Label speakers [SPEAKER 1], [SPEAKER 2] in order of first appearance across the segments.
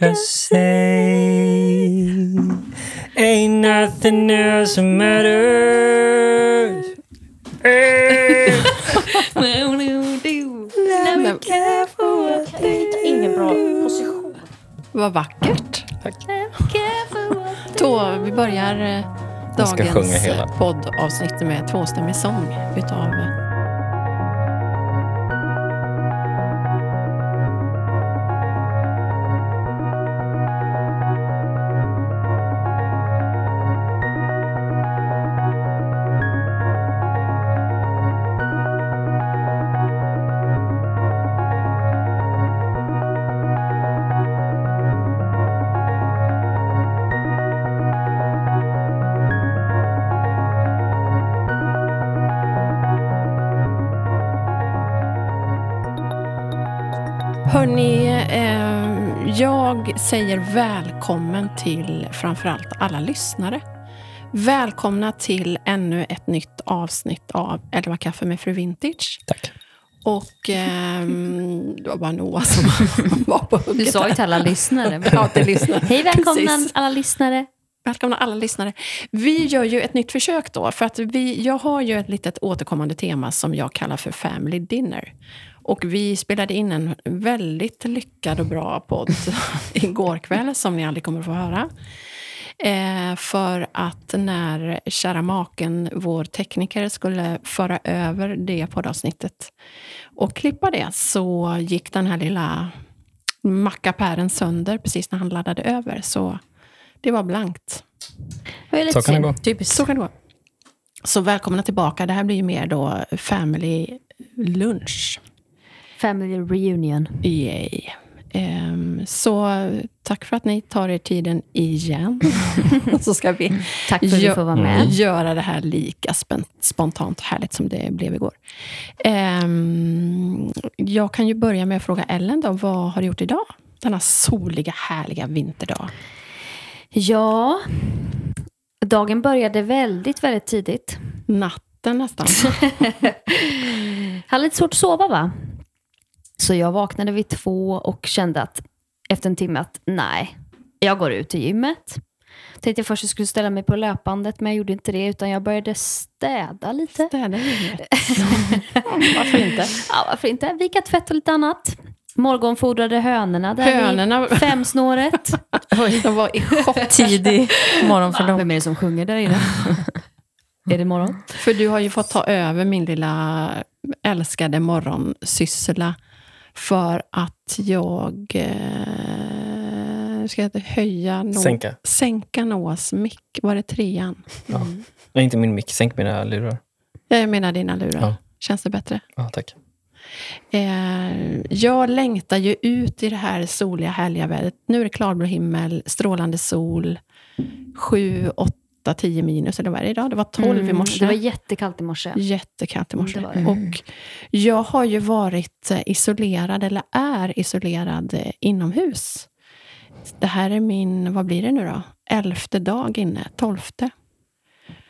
[SPEAKER 1] just say ain't nothing else matters. Eh.
[SPEAKER 2] Nej, men,
[SPEAKER 3] Jag hittar ingen bra position.
[SPEAKER 2] vad vackert.
[SPEAKER 1] Tack.
[SPEAKER 2] Då, vi börjar eh,
[SPEAKER 1] Jag ska sjunga
[SPEAKER 2] dagens
[SPEAKER 1] hela.
[SPEAKER 2] eh, poddavsnitt med tvåstämmig sång utav eh, Hörni, eh, jag säger välkommen till framförallt alla lyssnare. Välkomna till ännu ett nytt avsnitt av Elva kaffe med fru Vintage.
[SPEAKER 1] Tack.
[SPEAKER 2] Och ehm, det var bara Noah som var på
[SPEAKER 4] Du
[SPEAKER 2] hugget.
[SPEAKER 4] sa ju till alla lyssnare.
[SPEAKER 2] Ja, till lyssnare.
[SPEAKER 4] Hej välkomna
[SPEAKER 2] Precis.
[SPEAKER 4] alla lyssnare.
[SPEAKER 2] Välkomna alla lyssnare. Vi gör ju ett nytt försök då, för att vi, jag har ju ett litet återkommande tema som jag kallar för Family Dinner. Och vi spelade in en väldigt lyckad och bra podd igår kväll, som ni aldrig kommer att få höra. Eh, för att när kära maken, vår tekniker, skulle föra över det poddavsnittet och klippa det, så gick den här lilla mackapären sönder precis när han laddade över. Så det var blankt.
[SPEAKER 4] Det var ju lite
[SPEAKER 1] Så kan det
[SPEAKER 4] synd.
[SPEAKER 1] gå.
[SPEAKER 4] Typiskt.
[SPEAKER 2] Så kan det vara. Så välkomna tillbaka. Det här blir ju mer då family lunch.
[SPEAKER 4] Family reunion.
[SPEAKER 2] Yay. Ehm, så tack för att ni tar er tiden igen. så ska vi
[SPEAKER 4] Tack för att
[SPEAKER 2] gö-
[SPEAKER 4] du får vara
[SPEAKER 1] Mm.
[SPEAKER 4] med.
[SPEAKER 2] göra det här lika spen- spontant och härligt som det blev igår. Ehm, jag kan ju börja med att fråga Ellen då, vad har du gjort idag? Denna soliga, härliga vinterdag.
[SPEAKER 4] Ja, dagen började väldigt, väldigt tidigt.
[SPEAKER 2] Natten nästan.
[SPEAKER 4] hade lite svårt att sova va? Så jag vaknade vid två och kände att efter en timme att nej, jag går ut till gymmet. Tänkte jag först att jag skulle ställa mig på löpandet men jag gjorde inte det utan jag började städa lite.
[SPEAKER 2] Städa livet. Varför inte?
[SPEAKER 4] Ja, varför inte? Vika tvätt och lite annat. Morgonfodrade hönorna där
[SPEAKER 2] Hönorna.
[SPEAKER 4] i femsnåret.
[SPEAKER 2] De var i chock.
[SPEAKER 3] Tidig morgon för dem.
[SPEAKER 4] Vem är det som sjunger där inne? är det morgon?
[SPEAKER 2] För du har ju fått ta över min lilla älskade morgonsyssla. För att jag... Eh, ska jag inte höja... Nå-
[SPEAKER 1] Sänka.
[SPEAKER 2] Sänka Noahs mick. Var det trean?
[SPEAKER 1] Nej, inte min mick. Sänk mina lurar.
[SPEAKER 2] Jag menar dina lurar.
[SPEAKER 1] Ja.
[SPEAKER 2] Känns det bättre?
[SPEAKER 1] Ja, tack.
[SPEAKER 2] Eh, jag längtar ju ut i det här soliga, härliga vädret. Nu är det klarblå himmel, strålande sol. 7, 8, 10 minus. Eller vad är det idag? Det var 12 i morse.
[SPEAKER 4] Mm, Det var jättekallt i morse.
[SPEAKER 2] Jättekallt i morse.
[SPEAKER 4] Det var det.
[SPEAKER 2] Och jag har ju varit eh, isolerad, eller är isolerad, eh, inomhus. Det här är min, vad blir det nu då? Elfte dag inne, tolfte.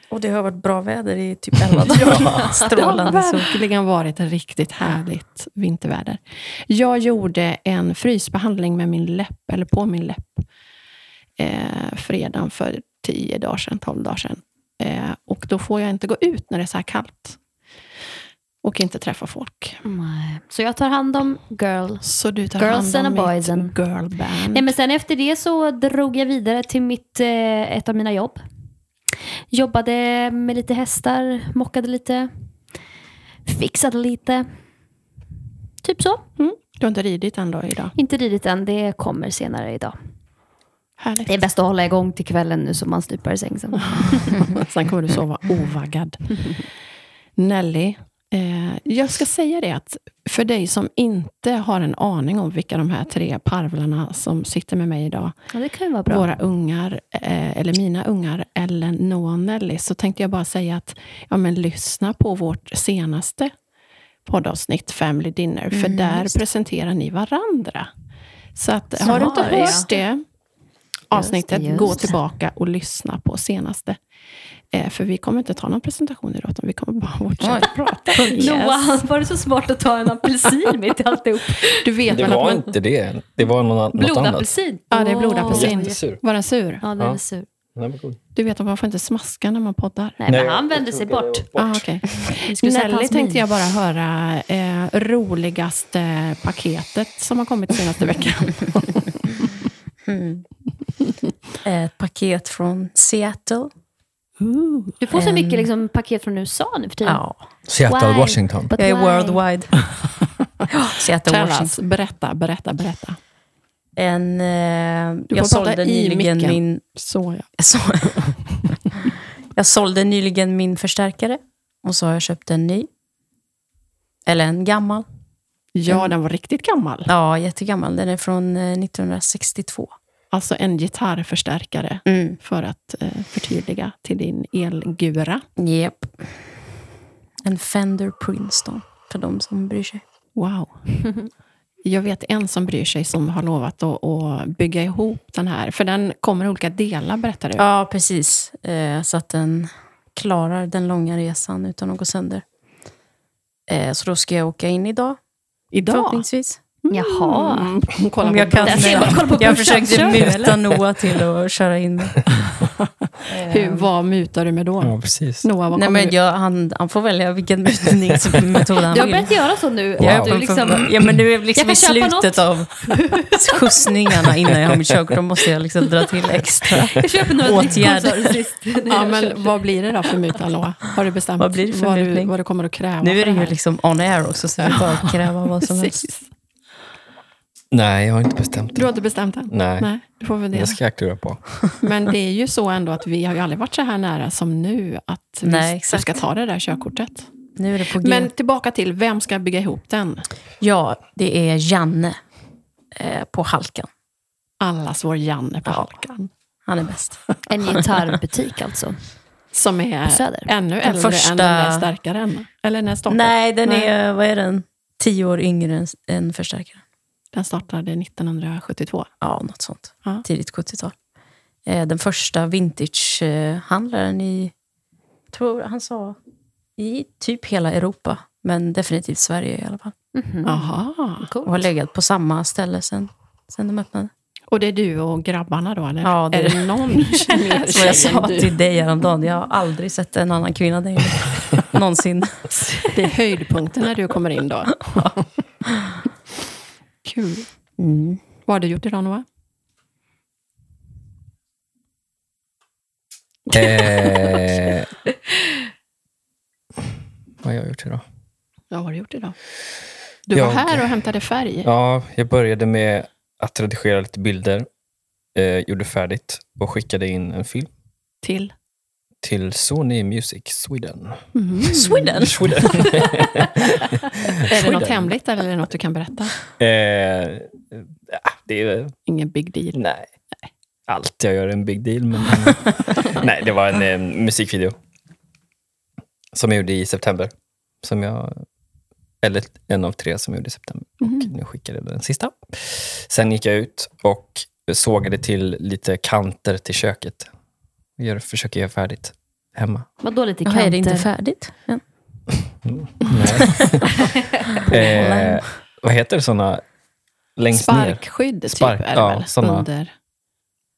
[SPEAKER 3] Och det har varit bra väder i typ elva dagar. Strålande
[SPEAKER 2] Det har
[SPEAKER 3] sol.
[SPEAKER 2] verkligen varit ett riktigt härligt vinterväder. Jag gjorde en frysbehandling med min läpp, eller på min läpp, eh, fredagen för 10 dagar sedan, 12 dagar sedan. Eh, och då får jag inte gå ut när det är så här kallt. Och inte träffa folk.
[SPEAKER 4] Nej. Mm. Så jag tar hand om girl.
[SPEAKER 2] Så du tar
[SPEAKER 4] Girls
[SPEAKER 2] hand
[SPEAKER 4] and
[SPEAKER 2] om
[SPEAKER 4] a boys
[SPEAKER 2] mitt
[SPEAKER 4] and-
[SPEAKER 2] girlband.
[SPEAKER 4] Nej, men sen efter det så drog jag vidare till mitt, eh, ett av mina jobb. Jobbade med lite hästar, mockade lite, fixade lite. Typ så.
[SPEAKER 2] mm. Du har inte ridit ändå idag.
[SPEAKER 4] Inte ridit än, det kommer senare idag.
[SPEAKER 2] Härligt.
[SPEAKER 4] Det är bäst att hålla igång till kvällen nu så man stupar i säng sen.
[SPEAKER 2] Sen kommer du sova ovaggad. Nelly, eh, jag ska säga det att för dig som inte har en aning om vilka de här tre parvlarna som sitter med mig idag,
[SPEAKER 4] Ja, det kan ju vara bra.
[SPEAKER 2] våra ungar, eh, eller mina ungar, Ellen, Noah och Nelly, så tänkte jag bara säga att ja, men lyssna på vårt senaste poddavsnitt, Family Dinner, för
[SPEAKER 4] Mm,
[SPEAKER 2] där presenterar ni varandra. Så att, har du inte
[SPEAKER 4] var det, ja.
[SPEAKER 2] hört det avsnittet,
[SPEAKER 4] Just det, just
[SPEAKER 2] gå
[SPEAKER 4] det.
[SPEAKER 2] tillbaka och lyssna på senaste. Eh, för vi kommer inte ta någon presentation idag, utan vi kommer bara
[SPEAKER 3] Oj.
[SPEAKER 2] fortsätta prata.
[SPEAKER 4] Noah, var det så smart att ta en apelsin mitt i alltihop?
[SPEAKER 2] Du vet
[SPEAKER 1] Det
[SPEAKER 2] väl att
[SPEAKER 1] var
[SPEAKER 2] man...
[SPEAKER 1] inte det. Det var någon, an- något annat.
[SPEAKER 4] Blodapelsin.
[SPEAKER 2] Ja, det är blodapelsin.
[SPEAKER 4] Åh.
[SPEAKER 1] Jättesur.
[SPEAKER 2] Var den sur?
[SPEAKER 4] Ja, den
[SPEAKER 1] Ja.
[SPEAKER 4] är sur.
[SPEAKER 1] Den var god.
[SPEAKER 2] Du vet att man får inte smaska när man poddar?
[SPEAKER 4] Nej,
[SPEAKER 1] Nej,
[SPEAKER 4] men han
[SPEAKER 1] jag
[SPEAKER 4] vände sig
[SPEAKER 1] tog det
[SPEAKER 4] bort.
[SPEAKER 2] Ah, okej.
[SPEAKER 4] Vi skulle sett
[SPEAKER 2] Nelly
[SPEAKER 4] hans
[SPEAKER 2] tänkte
[SPEAKER 4] min.
[SPEAKER 2] jag bara höra eh, roligaste paketet som har kommit senaste veckan.
[SPEAKER 3] Mm. Ett paket från Seattle.
[SPEAKER 4] Du får så
[SPEAKER 3] En-
[SPEAKER 4] mycket liksom, paket från USA nu för tiden.
[SPEAKER 1] Seattle,
[SPEAKER 4] Why?
[SPEAKER 1] Washington.
[SPEAKER 4] But
[SPEAKER 3] Jag är
[SPEAKER 4] why?
[SPEAKER 3] worldwide. Ja, Seattle, Washington.
[SPEAKER 2] Terras, berätta, berätta, berätta.
[SPEAKER 3] En, eh,
[SPEAKER 2] får
[SPEAKER 3] jag
[SPEAKER 2] prata
[SPEAKER 3] sålde
[SPEAKER 2] i
[SPEAKER 3] nyligen
[SPEAKER 2] micken.
[SPEAKER 3] min...
[SPEAKER 2] Så ja.
[SPEAKER 3] Jag, så, jag sålde nyligen min förstärkare. Och så har jag köpt en ny. Eller en gammal.
[SPEAKER 2] Ja, den var riktigt gammal.
[SPEAKER 3] Ja, jättegammal. Den är från eh, 1962.
[SPEAKER 2] Alltså en gitarrförstärkare.
[SPEAKER 3] Mm.
[SPEAKER 2] För att eh, förtydliga till din elgura.
[SPEAKER 3] Yep. En Fender Princeton. För de som bryr sig.
[SPEAKER 2] Wow. Jag vet en som bryr sig som har lovat att, att bygga ihop den här. För den kommer i olika delar, berättar du.
[SPEAKER 3] Ja, precis. Eh, så att den klarar den långa resan utan att gå sönder. Eh, så då ska jag åka in idag,
[SPEAKER 2] Idag.
[SPEAKER 3] förhoppningsvis.
[SPEAKER 4] Jaha.
[SPEAKER 2] Mm. Hon kollar
[SPEAKER 3] Om
[SPEAKER 2] på
[SPEAKER 3] jag kan.
[SPEAKER 4] Där ser man, kolla på
[SPEAKER 3] Jag
[SPEAKER 4] brorsan, kör
[SPEAKER 3] försökte
[SPEAKER 4] du,
[SPEAKER 3] muta Noah till att köra in mig. Eh,
[SPEAKER 2] Hur, vad mutar du med då?
[SPEAKER 1] Ja, precis.
[SPEAKER 2] Noah, vad
[SPEAKER 3] Nej,
[SPEAKER 2] kommer
[SPEAKER 3] men
[SPEAKER 2] du...
[SPEAKER 3] jag, han, han får välja vilken mutningsmetod han
[SPEAKER 4] Du har
[SPEAKER 3] vill.
[SPEAKER 4] börjat göra så nu.
[SPEAKER 1] Wow.
[SPEAKER 4] Att du liksom,
[SPEAKER 3] ja, men nu är vi liksom i
[SPEAKER 4] Jag kan köpa
[SPEAKER 3] slutet av skjutsningarna innan jag har mitt körkort. Då måste jag liksom dra till extra.
[SPEAKER 4] jag köper några drickor
[SPEAKER 3] Åtgärd.
[SPEAKER 4] sa du sist. när
[SPEAKER 2] Ja,
[SPEAKER 4] jag köpte.
[SPEAKER 2] men vad blir det då för muta, Noah? Har du bestämt
[SPEAKER 3] Vad blir det för
[SPEAKER 2] vad, du,
[SPEAKER 3] mutning?
[SPEAKER 2] vad du kommer att kräva
[SPEAKER 3] Nu är
[SPEAKER 2] för
[SPEAKER 3] det ju
[SPEAKER 2] här?
[SPEAKER 3] liksom on air också, så vi bara kräva vad som helst.
[SPEAKER 2] Precis.
[SPEAKER 1] Nej, jag har inte bestämt
[SPEAKER 2] Du har
[SPEAKER 1] det.
[SPEAKER 2] inte bestämt än?
[SPEAKER 1] Nej.
[SPEAKER 2] Nej, du får fundera.
[SPEAKER 1] Det ska jag klura på.
[SPEAKER 2] Men det är ju så ändå att vi har ju aldrig varit så här nära som nu att vi
[SPEAKER 3] Nej,
[SPEAKER 2] du
[SPEAKER 3] exakt.
[SPEAKER 2] ska ta det där körkortet.
[SPEAKER 3] Nu är det på G.
[SPEAKER 2] Men tillbaka till, vem ska bygga ihop den?
[SPEAKER 3] Ja, det är Janne eh, på Halkan.
[SPEAKER 2] Allas vår Janne på
[SPEAKER 3] Ja.
[SPEAKER 2] Halkan.
[SPEAKER 3] Han är bäst.
[SPEAKER 4] En gitarrbutik alltså.
[SPEAKER 2] Som är
[SPEAKER 4] På Söder.
[SPEAKER 2] ännu äldre
[SPEAKER 3] första-
[SPEAKER 2] än den där starkaren. Eller när startade
[SPEAKER 3] Nej, den
[SPEAKER 2] Nej.
[SPEAKER 3] är, vad är den? Tio år yngre än, än förstärkaren.
[SPEAKER 2] Den startade 1972.
[SPEAKER 3] Ja, något sånt.
[SPEAKER 2] Ja.
[SPEAKER 3] Tidigt 70-tal. Eh, den första vintagehandlaren i, tror han sa, i typ hela Europa. Men definitivt Sverige i alla fall.
[SPEAKER 2] Aha.
[SPEAKER 3] Och har legat på samma ställe sen, sen de öppnade.
[SPEAKER 2] Och det är du och grabbarna då, eller?
[SPEAKER 3] Ja, det
[SPEAKER 2] är
[SPEAKER 3] är
[SPEAKER 2] det någon mer
[SPEAKER 3] Som jag
[SPEAKER 2] tjej än
[SPEAKER 3] sa
[SPEAKER 2] du?
[SPEAKER 3] till dig häromdagen, jag har aldrig sett en annan kvinna längre. Någonsin.
[SPEAKER 2] Det är höjdpunkten när du kommer in då. Kul.
[SPEAKER 3] Mm.
[SPEAKER 2] Vad har du gjort idag, Noah?
[SPEAKER 1] Eh, vad har jag gjort idag?
[SPEAKER 2] Ja, vad har du gjort idag? Du
[SPEAKER 1] Jag-
[SPEAKER 2] var här och hämtade färg.
[SPEAKER 1] Ja, jag började med att redigera lite bilder. Eh, gjorde färdigt och skickade in en film
[SPEAKER 2] Till?
[SPEAKER 1] till Sony Music Sweden.
[SPEAKER 2] Mhm.
[SPEAKER 3] Sweden!
[SPEAKER 1] Sweden.
[SPEAKER 2] Är det något
[SPEAKER 1] Sweden.
[SPEAKER 2] hemligt eller är det något du kan berätta?
[SPEAKER 1] eh, ja, det är
[SPEAKER 2] Ingen big deal.
[SPEAKER 1] Nej. Allt jag gör är en big deal. Men, nej, det var en eh, musikvideo som jag gjorde i september. Som jag, eller en av tre som jag gjorde i september. Och nu skickade jag den sista. Sen gick jag ut och sågade till lite kanter till köket. Jag gör, försöker göra färdigt hemma.
[SPEAKER 4] Vadå lite
[SPEAKER 3] Jaha,
[SPEAKER 4] kanter?
[SPEAKER 3] är det inte färdigt? än?
[SPEAKER 1] Mm. eh, vad heter det såna längst ner?
[SPEAKER 2] Sparkskydd,
[SPEAKER 1] Spark,
[SPEAKER 2] typ, är det
[SPEAKER 1] ja,
[SPEAKER 2] väl?
[SPEAKER 1] såna.
[SPEAKER 2] Under.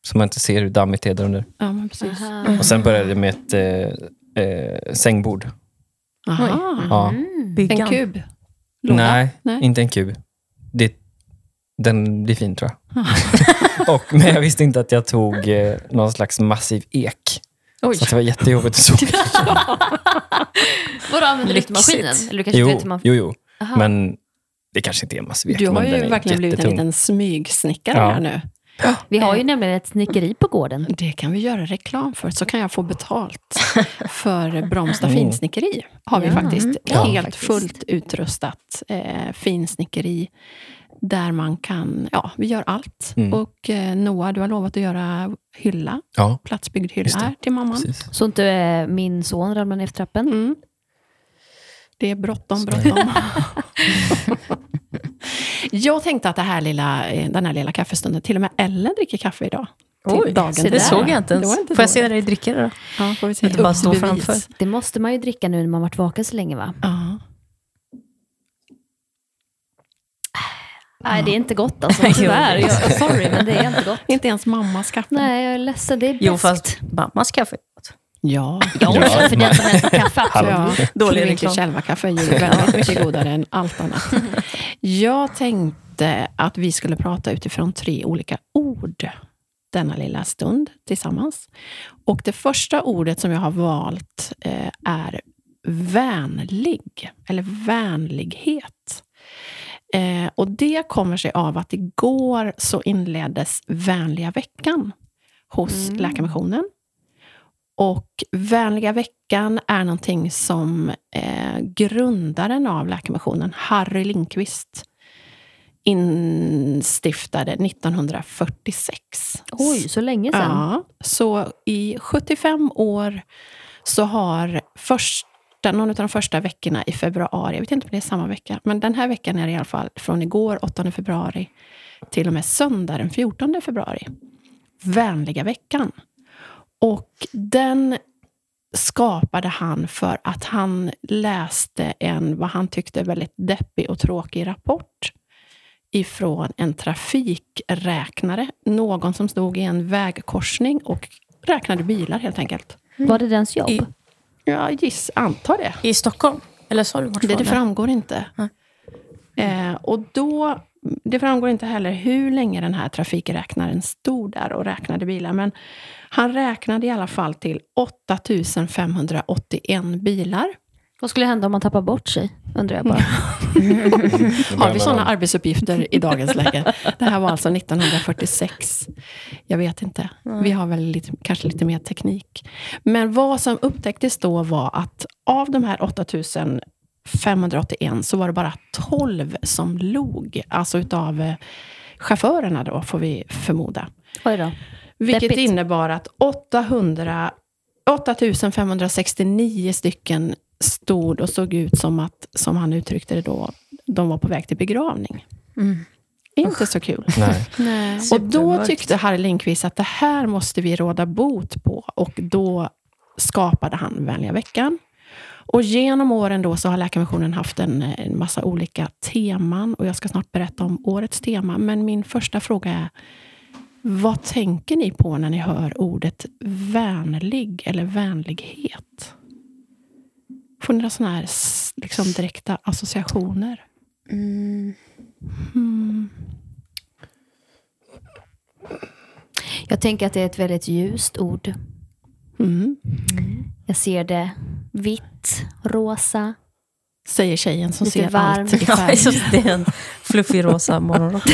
[SPEAKER 1] Som man inte ser hur dammigt det är där under.
[SPEAKER 2] Ja, men precis.
[SPEAKER 4] Aha.
[SPEAKER 1] Och
[SPEAKER 2] Mm.
[SPEAKER 1] sen började det med ett eh, eh, sängbord.
[SPEAKER 2] Aha.
[SPEAKER 1] Ja.
[SPEAKER 4] Mm.
[SPEAKER 3] Byggan.
[SPEAKER 2] En kub? Låda?
[SPEAKER 1] Nej,
[SPEAKER 2] Nej.
[SPEAKER 1] inte en kub. Det, den blir fin tror jag. och, men jag visste inte att jag tog eh, någon slags massiv ek.
[SPEAKER 3] Oj.
[SPEAKER 1] Så att det var jättejobbigt att såga.
[SPEAKER 4] Vadå, använder du inte
[SPEAKER 3] Lyxigt.
[SPEAKER 4] maskinen? Eller du kanske inte
[SPEAKER 1] jo,
[SPEAKER 4] vet hur man...
[SPEAKER 1] jo, jo.
[SPEAKER 4] Aha.
[SPEAKER 1] Men det kanske inte är en massiv ek.
[SPEAKER 2] Du har
[SPEAKER 1] men den
[SPEAKER 2] ju
[SPEAKER 1] är
[SPEAKER 2] verkligen blivit en
[SPEAKER 1] jättetung.
[SPEAKER 2] liten smygsnickare
[SPEAKER 1] Ja.
[SPEAKER 2] här nu.
[SPEAKER 4] Vi har ju nämligen ett snickeri på gården.
[SPEAKER 2] Det kan vi göra reklam för, så kan jag få betalt för Bromsta finsnickeri. Har vi
[SPEAKER 4] Ja.
[SPEAKER 2] faktiskt
[SPEAKER 4] Ja,
[SPEAKER 2] helt
[SPEAKER 4] faktiskt.
[SPEAKER 2] fullt utrustat eh, finsnickeri. Där man kan, ja, vi gör allt.
[SPEAKER 1] Mm.
[SPEAKER 2] Och eh, Noah, du har lovat att göra hylla,
[SPEAKER 1] Ja,
[SPEAKER 2] platsbyggd hylla
[SPEAKER 1] Just det.
[SPEAKER 2] här till mamman.
[SPEAKER 1] precis.
[SPEAKER 4] Så inte eh, min son ramlar ner för trappen.
[SPEAKER 2] Mm. Det är bråttom,
[SPEAKER 1] Så.
[SPEAKER 2] bråttom. Jag tänkte att det här lilla, eh, den här lilla kaffestunden, till och med Ellen dricker kaffe idag. till
[SPEAKER 3] Oj,
[SPEAKER 2] dagen
[SPEAKER 3] se, det såg jag inte
[SPEAKER 2] Det
[SPEAKER 3] ens.
[SPEAKER 2] var inte
[SPEAKER 3] Får jag
[SPEAKER 2] dåligt.
[SPEAKER 3] se dig dricka det då?
[SPEAKER 2] Ja, får vi se.
[SPEAKER 3] Inte bara
[SPEAKER 2] Upp till
[SPEAKER 3] stå
[SPEAKER 2] bevis.
[SPEAKER 3] framför.
[SPEAKER 4] Det måste man ju dricka nu när man varit vaken så länge va?
[SPEAKER 2] Ja.
[SPEAKER 4] Nej, det är inte gott alltså. Tyvärr.
[SPEAKER 3] Jo.
[SPEAKER 4] Jag, sorry, men det är inte gott.
[SPEAKER 2] Inte ens mammas kaffe.
[SPEAKER 4] Nej, jag är ledsen. Det är bäst.
[SPEAKER 3] Jo, fast mammas kaffe.
[SPEAKER 2] Ja.
[SPEAKER 4] Jag
[SPEAKER 1] Ja.
[SPEAKER 4] köper den som helst kaffe.
[SPEAKER 2] Ja,
[SPEAKER 3] Dålig
[SPEAKER 2] Dålig
[SPEAKER 3] reklam.
[SPEAKER 2] själva kaffe är ju väldigt mycket godare än allt annat. Jag tänkte att vi skulle prata utifrån tre olika ord denna lilla stund tillsammans. Och det första ordet som jag har valt eh, är vänlig, eller vänlighet. Eh, och det kommer sig av att igår så inleddes vänliga veckan hos
[SPEAKER 4] Mm.
[SPEAKER 2] Läkarmissionen. Och Vänliga veckan är någonting som eh, grundaren av Läkarmissionen, Harry Lindqvist, instiftade 1946.
[SPEAKER 4] Oj, så länge sedan.
[SPEAKER 2] Ja, så i 75 år så har första, någon av de första veckorna i februari, jag vet inte om det är samma vecka, men den här veckan är det i alla fall från igår, 8 februari, till och med söndag den 14 februari. Vänliga veckan. Och den skapade han för att han läste en, vad han tyckte, väldigt deppig och tråkig rapport ifrån en trafikräknare. Någon som stod i en vägkorsning och räknade bilar helt enkelt.
[SPEAKER 4] Var det dens jobb?
[SPEAKER 3] I-
[SPEAKER 2] Jag giss, antar det.
[SPEAKER 3] I Stockholm? Eller sa du vart
[SPEAKER 2] Det,
[SPEAKER 3] var
[SPEAKER 2] det framgår inte.
[SPEAKER 3] Nej.
[SPEAKER 2] Eh, och då, det framgår inte heller hur länge den här trafikräknaren stod där och räknade bilar. Men han räknade i alla fall till 8581 bilar.
[SPEAKER 4] Vad skulle hända om man tappar bort sig? Undrar jag bara.
[SPEAKER 2] Har vi sådana arbetsuppgifter i dagens läge? Det här var alltså 1946. Jag vet inte. Vi har väl lite, kanske lite mer teknik. Men vad som upptäcktes då var att av de här 8581 så var det bara 12 som log. Alltså utav eh, chaufförerna då, får vi förmoda.
[SPEAKER 4] Oj då.
[SPEAKER 2] Vilket
[SPEAKER 4] Deppigt.
[SPEAKER 2] innebar att 800, 8569 stycken stod och såg ut som att, som han uttryckte det då, de var på väg till begravning.
[SPEAKER 3] Mm.
[SPEAKER 2] Inte så kul.
[SPEAKER 1] Nej.
[SPEAKER 4] Nej.
[SPEAKER 2] Och då
[SPEAKER 3] Supermörkt.
[SPEAKER 2] tyckte Harry Lindqvist att det här måste vi råda bot på. Och då skapade han Vänliga veckan. Och genom åren då så har Läkarmissionen haft en, en massa olika teman. Och jag ska snart berätta om årets tema. Men min första fråga är, vad tänker ni på när ni hör ordet vänlig eller vänlighet? Får ni några sådana här s- liksom direkta associationer?
[SPEAKER 3] Mm.
[SPEAKER 2] Mm.
[SPEAKER 4] Jag tänker att det är ett väldigt ljust ord.
[SPEAKER 2] Mm.
[SPEAKER 4] Jag ser det vitt, rosa.
[SPEAKER 2] Säger tjejen som
[SPEAKER 4] Lite
[SPEAKER 2] ser
[SPEAKER 4] varm.
[SPEAKER 2] allt i
[SPEAKER 3] Ja,
[SPEAKER 2] färg.
[SPEAKER 3] just det. En fluffig rosa morgonrock.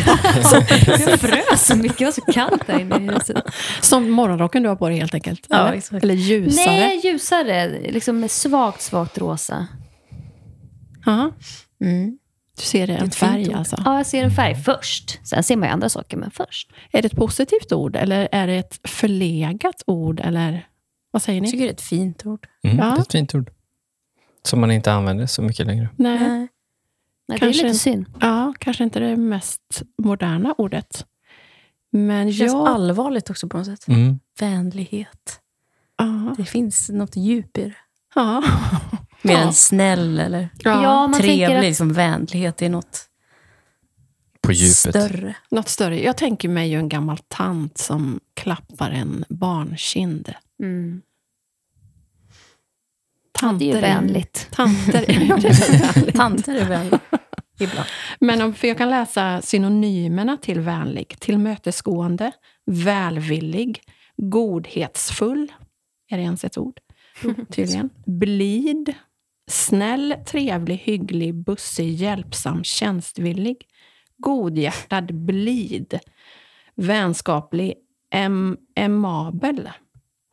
[SPEAKER 4] Jag frös så mycket, det var så kallt där inne i huset.
[SPEAKER 2] Som morgonrocken du har på dig helt enkelt?
[SPEAKER 3] Ja,
[SPEAKER 2] eller?
[SPEAKER 3] exakt.
[SPEAKER 2] eller ljusare?
[SPEAKER 4] Nej, ljusare. Liksom med svagt, svagt rosa.
[SPEAKER 2] Ja,
[SPEAKER 3] Mm.
[SPEAKER 2] du ser det, en
[SPEAKER 3] ett fint
[SPEAKER 2] färg
[SPEAKER 3] ord.
[SPEAKER 2] alltså.
[SPEAKER 4] Ja, jag ser en färg först. Sen ser man ju andra saker, men först.
[SPEAKER 2] Är det ett positivt ord eller är det ett förlegat ord? Eller vad säger
[SPEAKER 3] Jag
[SPEAKER 2] ni?
[SPEAKER 3] tycker det är ett fint ord.
[SPEAKER 1] Mm,
[SPEAKER 2] Ja.
[SPEAKER 1] Det är ett fint ord. Som man inte använder så mycket längre.
[SPEAKER 2] Nej.
[SPEAKER 3] Eh,
[SPEAKER 4] Nej, det är
[SPEAKER 2] Kanske
[SPEAKER 4] lite
[SPEAKER 2] en-
[SPEAKER 4] synd.
[SPEAKER 2] Ja, kanske inte det mest moderna ordet. Men
[SPEAKER 3] Det känns
[SPEAKER 2] jag...
[SPEAKER 3] allvarligt också på något sätt.
[SPEAKER 1] Mm.
[SPEAKER 3] Vänlighet.
[SPEAKER 2] ja.
[SPEAKER 3] Det finns något djup i det.
[SPEAKER 2] Ja.
[SPEAKER 3] Mer
[SPEAKER 2] Ja.
[SPEAKER 3] än snäll eller
[SPEAKER 2] Ja,
[SPEAKER 4] Ja, man
[SPEAKER 3] trevlig.
[SPEAKER 4] tänker att
[SPEAKER 3] Liksom vänlighet är något
[SPEAKER 1] På djupet.
[SPEAKER 3] större.
[SPEAKER 2] Något större. Jag tänker mig ju en gammal tant som klappar en barnkind.
[SPEAKER 4] mm, det
[SPEAKER 2] Tanter,
[SPEAKER 4] är ju vänligt.
[SPEAKER 2] Tanter, ja, det är vänligt.
[SPEAKER 3] Tanter är väl ibland.
[SPEAKER 2] Men om, för jag kan läsa synonymerna till vänlig. Tillmötesgående, välvillig, godhetsfull. Är det ens ett ord? Tydligen. Blid, snäll, trevlig, hygglig, bussig, hjälpsam, tjänstvillig, godhjärtad, blid, vänskaplig, em, emabel,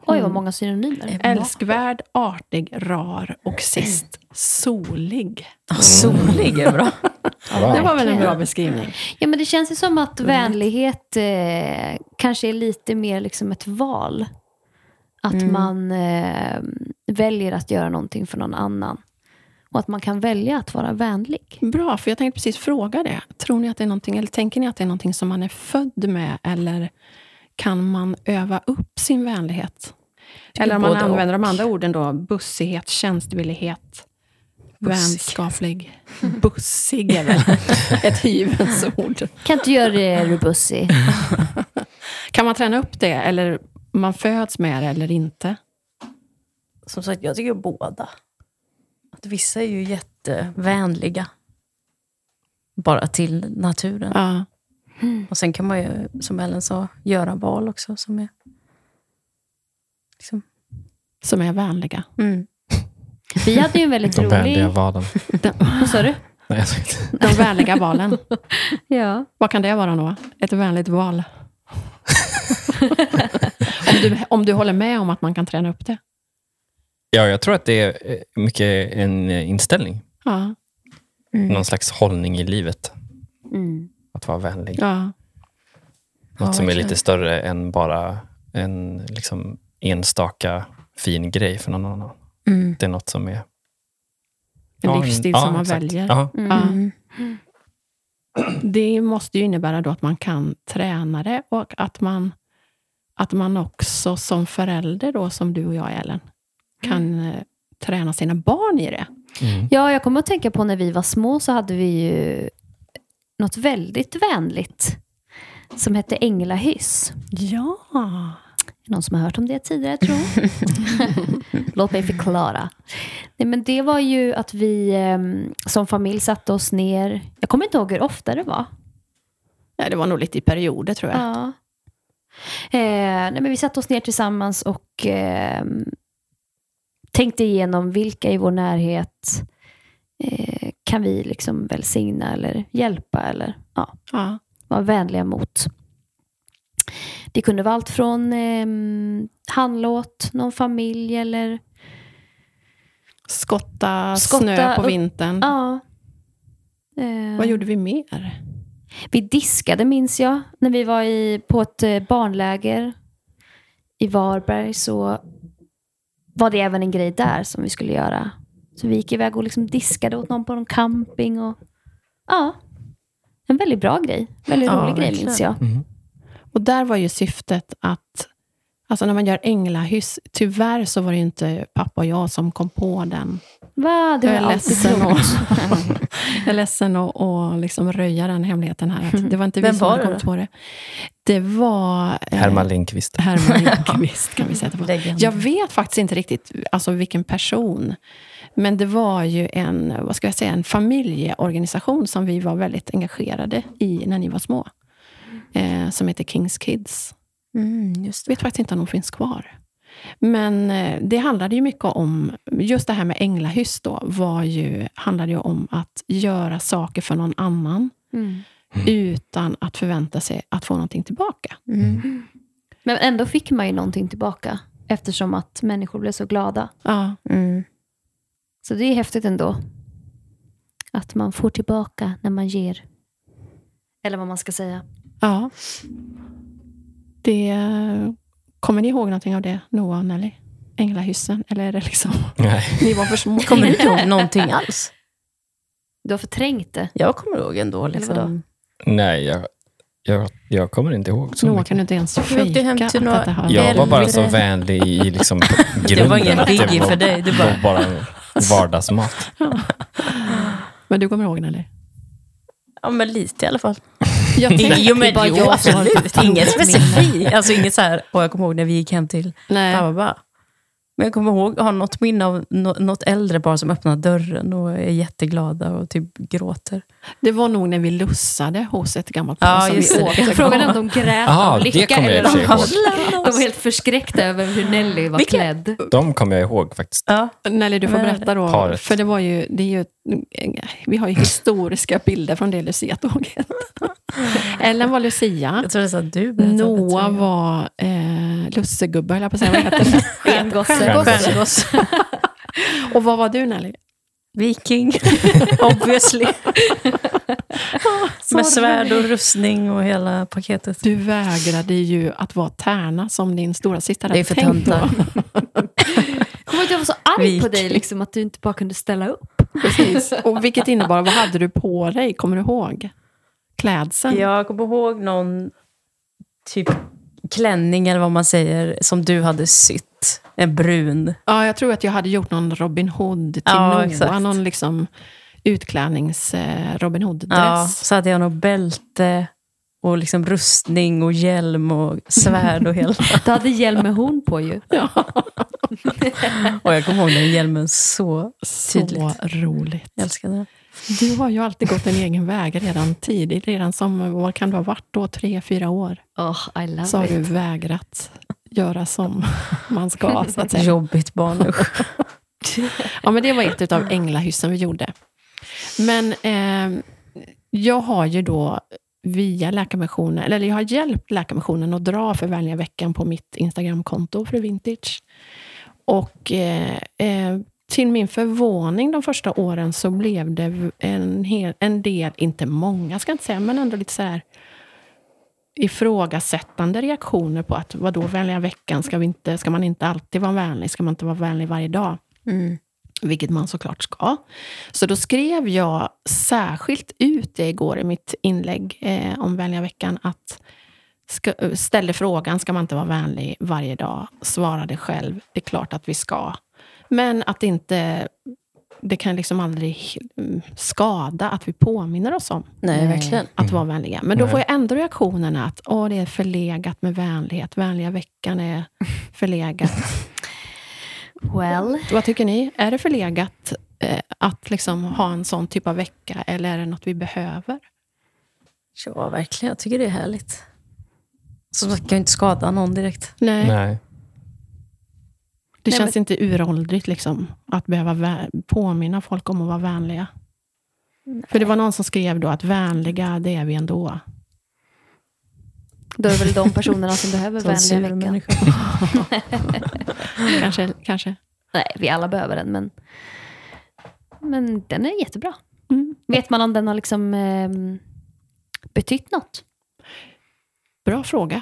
[SPEAKER 4] Oj, vad många
[SPEAKER 2] Mm.
[SPEAKER 4] synonymer. Eh,
[SPEAKER 2] älskvärd, artig, rar och sist solig.
[SPEAKER 3] Ja, solig är bra.
[SPEAKER 1] Wow.
[SPEAKER 2] Det var väl en bra
[SPEAKER 4] Verkligen.
[SPEAKER 2] beskrivning?
[SPEAKER 4] Ja, men det känns ju som att vänlighet eh, kanske är lite mer liksom ett val. Att
[SPEAKER 3] Mm.
[SPEAKER 4] man eh, väljer att göra någonting för någon annan. Och att man kan välja att vara vänlig.
[SPEAKER 2] Bra, för jag tänkte precis fråga det. Tror ni att det är någonting, eller tänker ni att det är någonting som man är född med eller kan man öva upp sin vänlighet?
[SPEAKER 3] Tycker
[SPEAKER 2] Eller om man
[SPEAKER 3] både
[SPEAKER 2] använder
[SPEAKER 3] och.
[SPEAKER 2] de andra orden då, bussighet, tjänstvillighet,
[SPEAKER 3] Bussig.
[SPEAKER 2] vänskaplig. Bussig är väl ett hyvens ord.
[SPEAKER 4] Kan inte göra det, Rubussi?
[SPEAKER 2] Kan man träna upp det, eller man föds med det eller inte?
[SPEAKER 3] Som sagt, jag tycker båda. Att vissa är ju jättevänliga. Bara till naturen.
[SPEAKER 2] Ja.
[SPEAKER 3] Och sen kan man ju, som Ellen sa, göra val också. Som är, liksom,
[SPEAKER 2] Som är vänliga.
[SPEAKER 3] mm.
[SPEAKER 4] Vi hade ju en väldigt
[SPEAKER 1] De
[SPEAKER 4] rolig...
[SPEAKER 1] vänliga valen.
[SPEAKER 4] Vad sa du?
[SPEAKER 1] Nej, jag sa inte.
[SPEAKER 2] De vänliga valen.
[SPEAKER 4] Ja.
[SPEAKER 2] Vad kan det vara då? Ett vänligt val? om, du, om du håller med om att man kan träna upp det?
[SPEAKER 1] Ja, jag tror att det är eh, mycket en eh, inställning.
[SPEAKER 2] Ja.
[SPEAKER 3] Mm.
[SPEAKER 1] Någon slags hållning i livet.
[SPEAKER 4] Mm.
[SPEAKER 1] Att vara vänlig.
[SPEAKER 2] ja.
[SPEAKER 3] Ja,
[SPEAKER 1] Något som är
[SPEAKER 3] verkligen.
[SPEAKER 1] lite större än bara en liksom, enstaka fin grej för någon annan.
[SPEAKER 3] Mm.
[SPEAKER 1] Det är något som är... En
[SPEAKER 2] En livsstil som man väljer.
[SPEAKER 1] Ja,
[SPEAKER 4] Mm.
[SPEAKER 2] Ja. Det måste ju innebära då att man kan träna det och att man, att man också som förälder, då, som du och jag, Ellen, kan
[SPEAKER 4] Mm.
[SPEAKER 2] eh, träna sina barn i det.
[SPEAKER 1] mm.
[SPEAKER 4] Ja, jag kommer att tänka på när vi var små så hade vi ju något väldigt vänligt som hette änglahyss.
[SPEAKER 2] Ja.
[SPEAKER 4] Någon som har hört om det tidigare, tror jag. Låt mig förklara. Nej, men det var ju att vi ehm, som familj satte oss ner. Jag kommer inte ihåg hur ofta det var.
[SPEAKER 2] ja. Det var nog lite i perioder, tror jag.
[SPEAKER 4] Ja. Eh, nej, men vi satte oss ner tillsammans och ehm, tänkte igenom vilka i vår närhet eh, kan vi liksom välsigna eller hjälpa eller ja,
[SPEAKER 2] Ja.
[SPEAKER 4] vara vänliga mot. Det kunde vara allt från ehm, handla åt någon familj eller
[SPEAKER 2] Mm. Skotta,
[SPEAKER 4] Skotta
[SPEAKER 2] snö på
[SPEAKER 4] upp-
[SPEAKER 2] vintern.
[SPEAKER 4] ja. Eh,
[SPEAKER 2] Vad gjorde vi mer?
[SPEAKER 4] Vi diskade minns jag. När vi var i, på ett eh, barnläger i Varberg så var det även en grej där som vi skulle göra. Så vi gick iväg och liksom diskade åt någon på någon camping. Och, ja, en väldigt bra grej. Väldigt
[SPEAKER 3] Ja,
[SPEAKER 4] rolig grej
[SPEAKER 3] verkligen.
[SPEAKER 4] minns jag.
[SPEAKER 1] Mm.
[SPEAKER 2] Och där var ju syftet att, alltså när man gör änglahyss, tyvärr så var det ju inte pappa och jag som kom på den.
[SPEAKER 4] Va, det
[SPEAKER 2] Jag
[SPEAKER 4] var
[SPEAKER 2] är
[SPEAKER 4] alltid
[SPEAKER 2] ledsen
[SPEAKER 4] klokt.
[SPEAKER 2] Jag är ledsen att, att liksom röja den hemligheten här. Att det var inte vi
[SPEAKER 3] Vem
[SPEAKER 2] som
[SPEAKER 3] var
[SPEAKER 2] hade
[SPEAKER 3] det
[SPEAKER 2] kommit
[SPEAKER 3] då?
[SPEAKER 2] på det. Det var eh,
[SPEAKER 1] Herman Lindqvist.
[SPEAKER 2] Herman Lindqvist, kan vi säga att det var.
[SPEAKER 3] Legend.
[SPEAKER 2] Jag vet faktiskt inte riktigt alltså, vilken person. Men det var ju en, vad ska jag säga, en familjeorganisation som vi var väldigt engagerade i när ni var små. Eh, som heter Kings Kids.
[SPEAKER 3] Mm,
[SPEAKER 2] Jag
[SPEAKER 3] just det.
[SPEAKER 2] vet faktiskt inte om de finns kvar. Men eh, det handlade ju mycket om, just det här med änglahyss då, var ju, handlade ju om att göra saker för någon annan
[SPEAKER 4] Mm.
[SPEAKER 2] utan att förvänta sig att få någonting tillbaka.
[SPEAKER 3] Mm.
[SPEAKER 4] Men ändå fick man ju någonting tillbaka. Eftersom att människor blev så glada.
[SPEAKER 2] Ja,
[SPEAKER 3] Mm.
[SPEAKER 4] Så det är häftigt ändå. Att man får tillbaka när man ger. Eller vad man ska säga.
[SPEAKER 2] ja. Det, kommer ni ihåg någonting av det, Noah och Nelly? Änglahyssen? Eller är det liksom,
[SPEAKER 1] Nej.
[SPEAKER 2] ni var för små?
[SPEAKER 3] Kommer du ihåg någonting alls?
[SPEAKER 4] Du har förträngt det.
[SPEAKER 3] Jag kommer ihåg ändå. Liksom.
[SPEAKER 1] Nej, jag, jag, jag kommer inte ihåg så
[SPEAKER 2] Noah
[SPEAKER 1] mycket.
[SPEAKER 2] kan du inte ens
[SPEAKER 3] Vi åkte hem
[SPEAKER 2] fejka att
[SPEAKER 3] till några-
[SPEAKER 2] det här
[SPEAKER 1] Jag var bara så
[SPEAKER 3] Äldre.
[SPEAKER 1] vänlig i i liksom, grunden.
[SPEAKER 3] Det var ingen
[SPEAKER 1] att
[SPEAKER 3] biggie
[SPEAKER 1] var-
[SPEAKER 3] för dig. Det
[SPEAKER 1] var
[SPEAKER 3] var,
[SPEAKER 1] bara en vardagsmat.
[SPEAKER 2] Men du kommer ihåg Nelly?
[SPEAKER 3] ja, men lite i alla fall.
[SPEAKER 2] Jag
[SPEAKER 3] Jo, men
[SPEAKER 4] bara
[SPEAKER 3] jo,
[SPEAKER 4] jag som har
[SPEAKER 3] absolut.
[SPEAKER 4] tappat
[SPEAKER 3] Inget
[SPEAKER 4] minnet.
[SPEAKER 3] specifikt. Alltså inget så här, och jag kommer ihåg när vi gick hem till
[SPEAKER 2] Nej.
[SPEAKER 3] Baba. Men jag kommer ihåg, jag har något minne av nå- något äldre barn som öppnar dörren och är jätteglada och typ gråter.
[SPEAKER 2] Det var nog när vi lussade hos ett gammalt par
[SPEAKER 3] Ja,
[SPEAKER 2] som
[SPEAKER 3] just
[SPEAKER 2] vi
[SPEAKER 3] det.
[SPEAKER 2] återkom.
[SPEAKER 4] Frågan är om de grät
[SPEAKER 1] Jaha,
[SPEAKER 4] av
[SPEAKER 1] det
[SPEAKER 4] lycka
[SPEAKER 1] kommer jag i
[SPEAKER 4] eller
[SPEAKER 1] och för sig
[SPEAKER 4] om
[SPEAKER 1] ihåg.
[SPEAKER 4] de var helt förskräckta över hur Nelly var
[SPEAKER 3] Vilka-
[SPEAKER 4] klädd.
[SPEAKER 1] De kommer jag ihåg faktiskt.
[SPEAKER 3] Ja,
[SPEAKER 2] Nelly, du får
[SPEAKER 3] Men-
[SPEAKER 2] berätta då.
[SPEAKER 1] Paret.
[SPEAKER 2] För det var ju, det är ju, vi har ju historiska bilder från det Lucia-tåget. Ellen var Lucia.
[SPEAKER 3] jag tror det är att du berättade.
[SPEAKER 2] Noah var eh, lussegubbe, höll jag på att säga. Vad heter det?
[SPEAKER 4] Stjärngosse.
[SPEAKER 1] Stjärngosse.
[SPEAKER 3] Stjärngoss.
[SPEAKER 2] Och vad var du, Nelly?
[SPEAKER 3] Viking, obviously. Med svärd och rustning och hela paketet.
[SPEAKER 2] Du vägrade ju att vara tärna som din stora syster hade tänkt på.
[SPEAKER 4] Kommer att jag var så arg på
[SPEAKER 3] Viking.
[SPEAKER 4] dig liksom, att du inte bara kunde ställa upp.
[SPEAKER 2] Precis. Och vilket innebar, vad hade du på dig? Kommer du ihåg? Klädseln?
[SPEAKER 3] Jag kommer ihåg någon typ klänning eller vad man säger som du hade sytt. En brun.
[SPEAKER 2] Ja, jag tror att jag hade gjort någon Robin Hood till
[SPEAKER 3] Ja,
[SPEAKER 2] Noah.
[SPEAKER 3] exakt.
[SPEAKER 2] Någon liksom utklädnings-Robin
[SPEAKER 3] Ja,
[SPEAKER 2] Hood-dress.
[SPEAKER 3] så hade jag nog bälte och liksom rustning och hjälm och svärd och hela.
[SPEAKER 4] Du hade hjälm med horn på ju.
[SPEAKER 2] Ja.
[SPEAKER 3] Och jag kommer ihåg den hjälmen så.
[SPEAKER 2] Så
[SPEAKER 3] Tydligt.
[SPEAKER 2] roligt.
[SPEAKER 3] Jag älskar den.
[SPEAKER 2] Du har ju alltid gått en egen väg redan tidigt. Redan som, vad kan du ha varit då, tre, fyra år?
[SPEAKER 4] Oh, I love
[SPEAKER 2] Så har
[SPEAKER 4] it.
[SPEAKER 2] du vägrat göra som man ska, så att säga.
[SPEAKER 3] Jobbigt barn. usch.
[SPEAKER 2] Ja, men det var ett av änglahyssen vi gjorde. Men eh, jag har ju då via Läkarmissionen, eller jag har hjälpt Läkarmissionen att dra för vänliga veckan på mitt Instagramkonto, Fru Vintage. Och eh, eh, till min förvåning de första åren så blev det v- en, hel, en del, inte många ska jag inte säga, men ändå lite så här ifrågasättande reaktioner på att vadå vänliga veckan, ska, vi inte, ska man inte alltid vara vänlig? Ska man inte vara vänlig varje dag? vilket man såklart ska. Så då skrev jag särskilt ut det igår i mitt inlägg eh, om vänliga veckan, att ska, eh, ställde frågan, ska man inte vara vänlig varje dag? Svarade själv, det är klart att vi ska. Men att inte, det kan liksom aldrig mm, skada att vi påminner oss om
[SPEAKER 3] Nej, verkligen.
[SPEAKER 2] att vara vänliga. Men då får jag ändå reaktionerna att åh, det är förlegat med vänlighet, vänliga veckan är förlegat.
[SPEAKER 4] Well,
[SPEAKER 2] Vad tycker ni? Är det förlegat eh, att liksom ha en sån typ av vecka, eller är det något vi behöver?
[SPEAKER 3] Ja, verkligen. Jag tycker det är härligt. Som sagt, kan ju inte skada någon direkt.
[SPEAKER 2] Nej,
[SPEAKER 1] Nej.
[SPEAKER 2] det
[SPEAKER 4] Nej,
[SPEAKER 2] känns inte uråldrigt liksom, att behöva vä- påminna folk om att vara vänliga. För det var någon som skrev då att vänliga, det är vi ändå.
[SPEAKER 4] då är det väl de personerna som behöver
[SPEAKER 3] Sån sur
[SPEAKER 4] vänliga veckan.
[SPEAKER 3] människa.
[SPEAKER 2] Kanske, kanske.
[SPEAKER 4] Nej, vi alla behöver den, men, men den är jättebra.
[SPEAKER 2] Mm.
[SPEAKER 4] Vet man om den har liksom ehm, betytt något?
[SPEAKER 2] Bra fråga.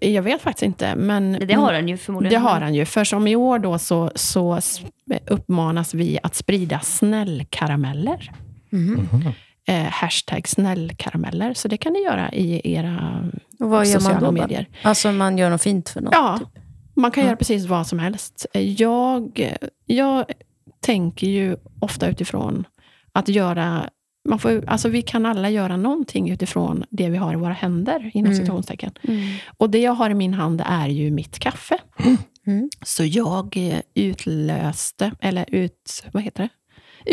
[SPEAKER 2] Jag vet faktiskt inte. Men,
[SPEAKER 4] Det har den ju förmodligen.
[SPEAKER 2] Det har han ju. För som i år då så, så s- uppmanas vi att sprida snällkarameller.
[SPEAKER 3] Mm-hmm.
[SPEAKER 1] Mm.
[SPEAKER 2] Eh, hashtag snällkarameller. Så det kan ni göra i era
[SPEAKER 3] Och vad gör
[SPEAKER 2] sociala
[SPEAKER 3] man då?
[SPEAKER 2] medier.
[SPEAKER 3] Bara? Alltså, man gör något fint för någon.
[SPEAKER 2] Ja, man kan göra precis vad som helst. Jag, jag tänker ju ofta utifrån att göra... Man får, alltså vi kan alla göra någonting utifrån det vi har i våra händer, inom citationstecken. Och det jag har i min hand är ju mitt kaffe.
[SPEAKER 3] Mm.
[SPEAKER 2] Så jag eh, utlöste, eller ut, vad heter det?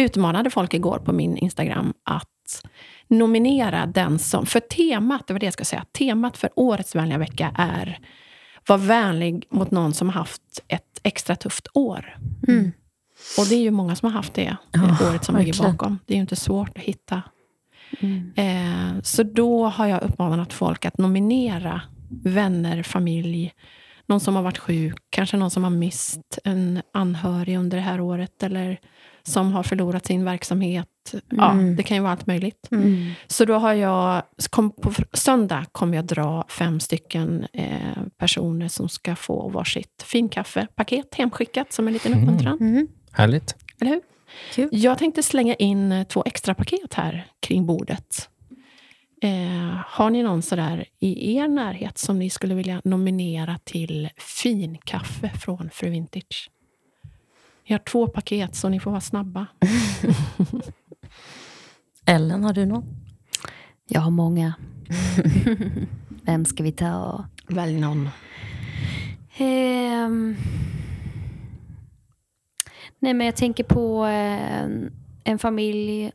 [SPEAKER 2] utmanade folk igår på min Instagram att nominera den som... För temat, det var det jag ska säga, temat för årets vänliga vecka är var vänlig mot någon som haft ett extra tufft år.
[SPEAKER 3] Mm.
[SPEAKER 2] Och det är ju många som har haft det eh,
[SPEAKER 3] Ja,
[SPEAKER 2] året som ligger
[SPEAKER 3] verkligen.
[SPEAKER 2] bakom. Det är ju inte svårt att hitta.
[SPEAKER 4] Mm.
[SPEAKER 2] Eh, så då har jag uppmanat folk att nominera vänner, familj, någon som har varit sjuk, kanske någon som har mist en anhörig under det här året eller som har förlorat sin verksamhet. Ja,
[SPEAKER 3] Mm.
[SPEAKER 2] det kan ju vara allt möjligt.
[SPEAKER 3] Mm.
[SPEAKER 2] Så då har jag, kom, på fr- söndag kommer jag dra fem stycken eh, personer som ska få varsitt finkaffepaket hemskickat som en liten
[SPEAKER 1] Mm.
[SPEAKER 2] uppmuntran.
[SPEAKER 3] Mm.
[SPEAKER 1] Härligt.
[SPEAKER 2] Eller hur?
[SPEAKER 3] Kul.
[SPEAKER 2] Jag tänkte slänga in eh, två extra paket här kring bordet. Eh, har ni någon sådär i er närhet som ni skulle vilja nominera till finkaffe från Fru Vintage? Jag har två paket, så ni får vara snabba.
[SPEAKER 3] Ellen, har du någon?
[SPEAKER 4] Jag har många. Vem ska vi ta?
[SPEAKER 2] Välj någon.
[SPEAKER 4] Ehm. Nej, men jag tänker på eh, en- en familj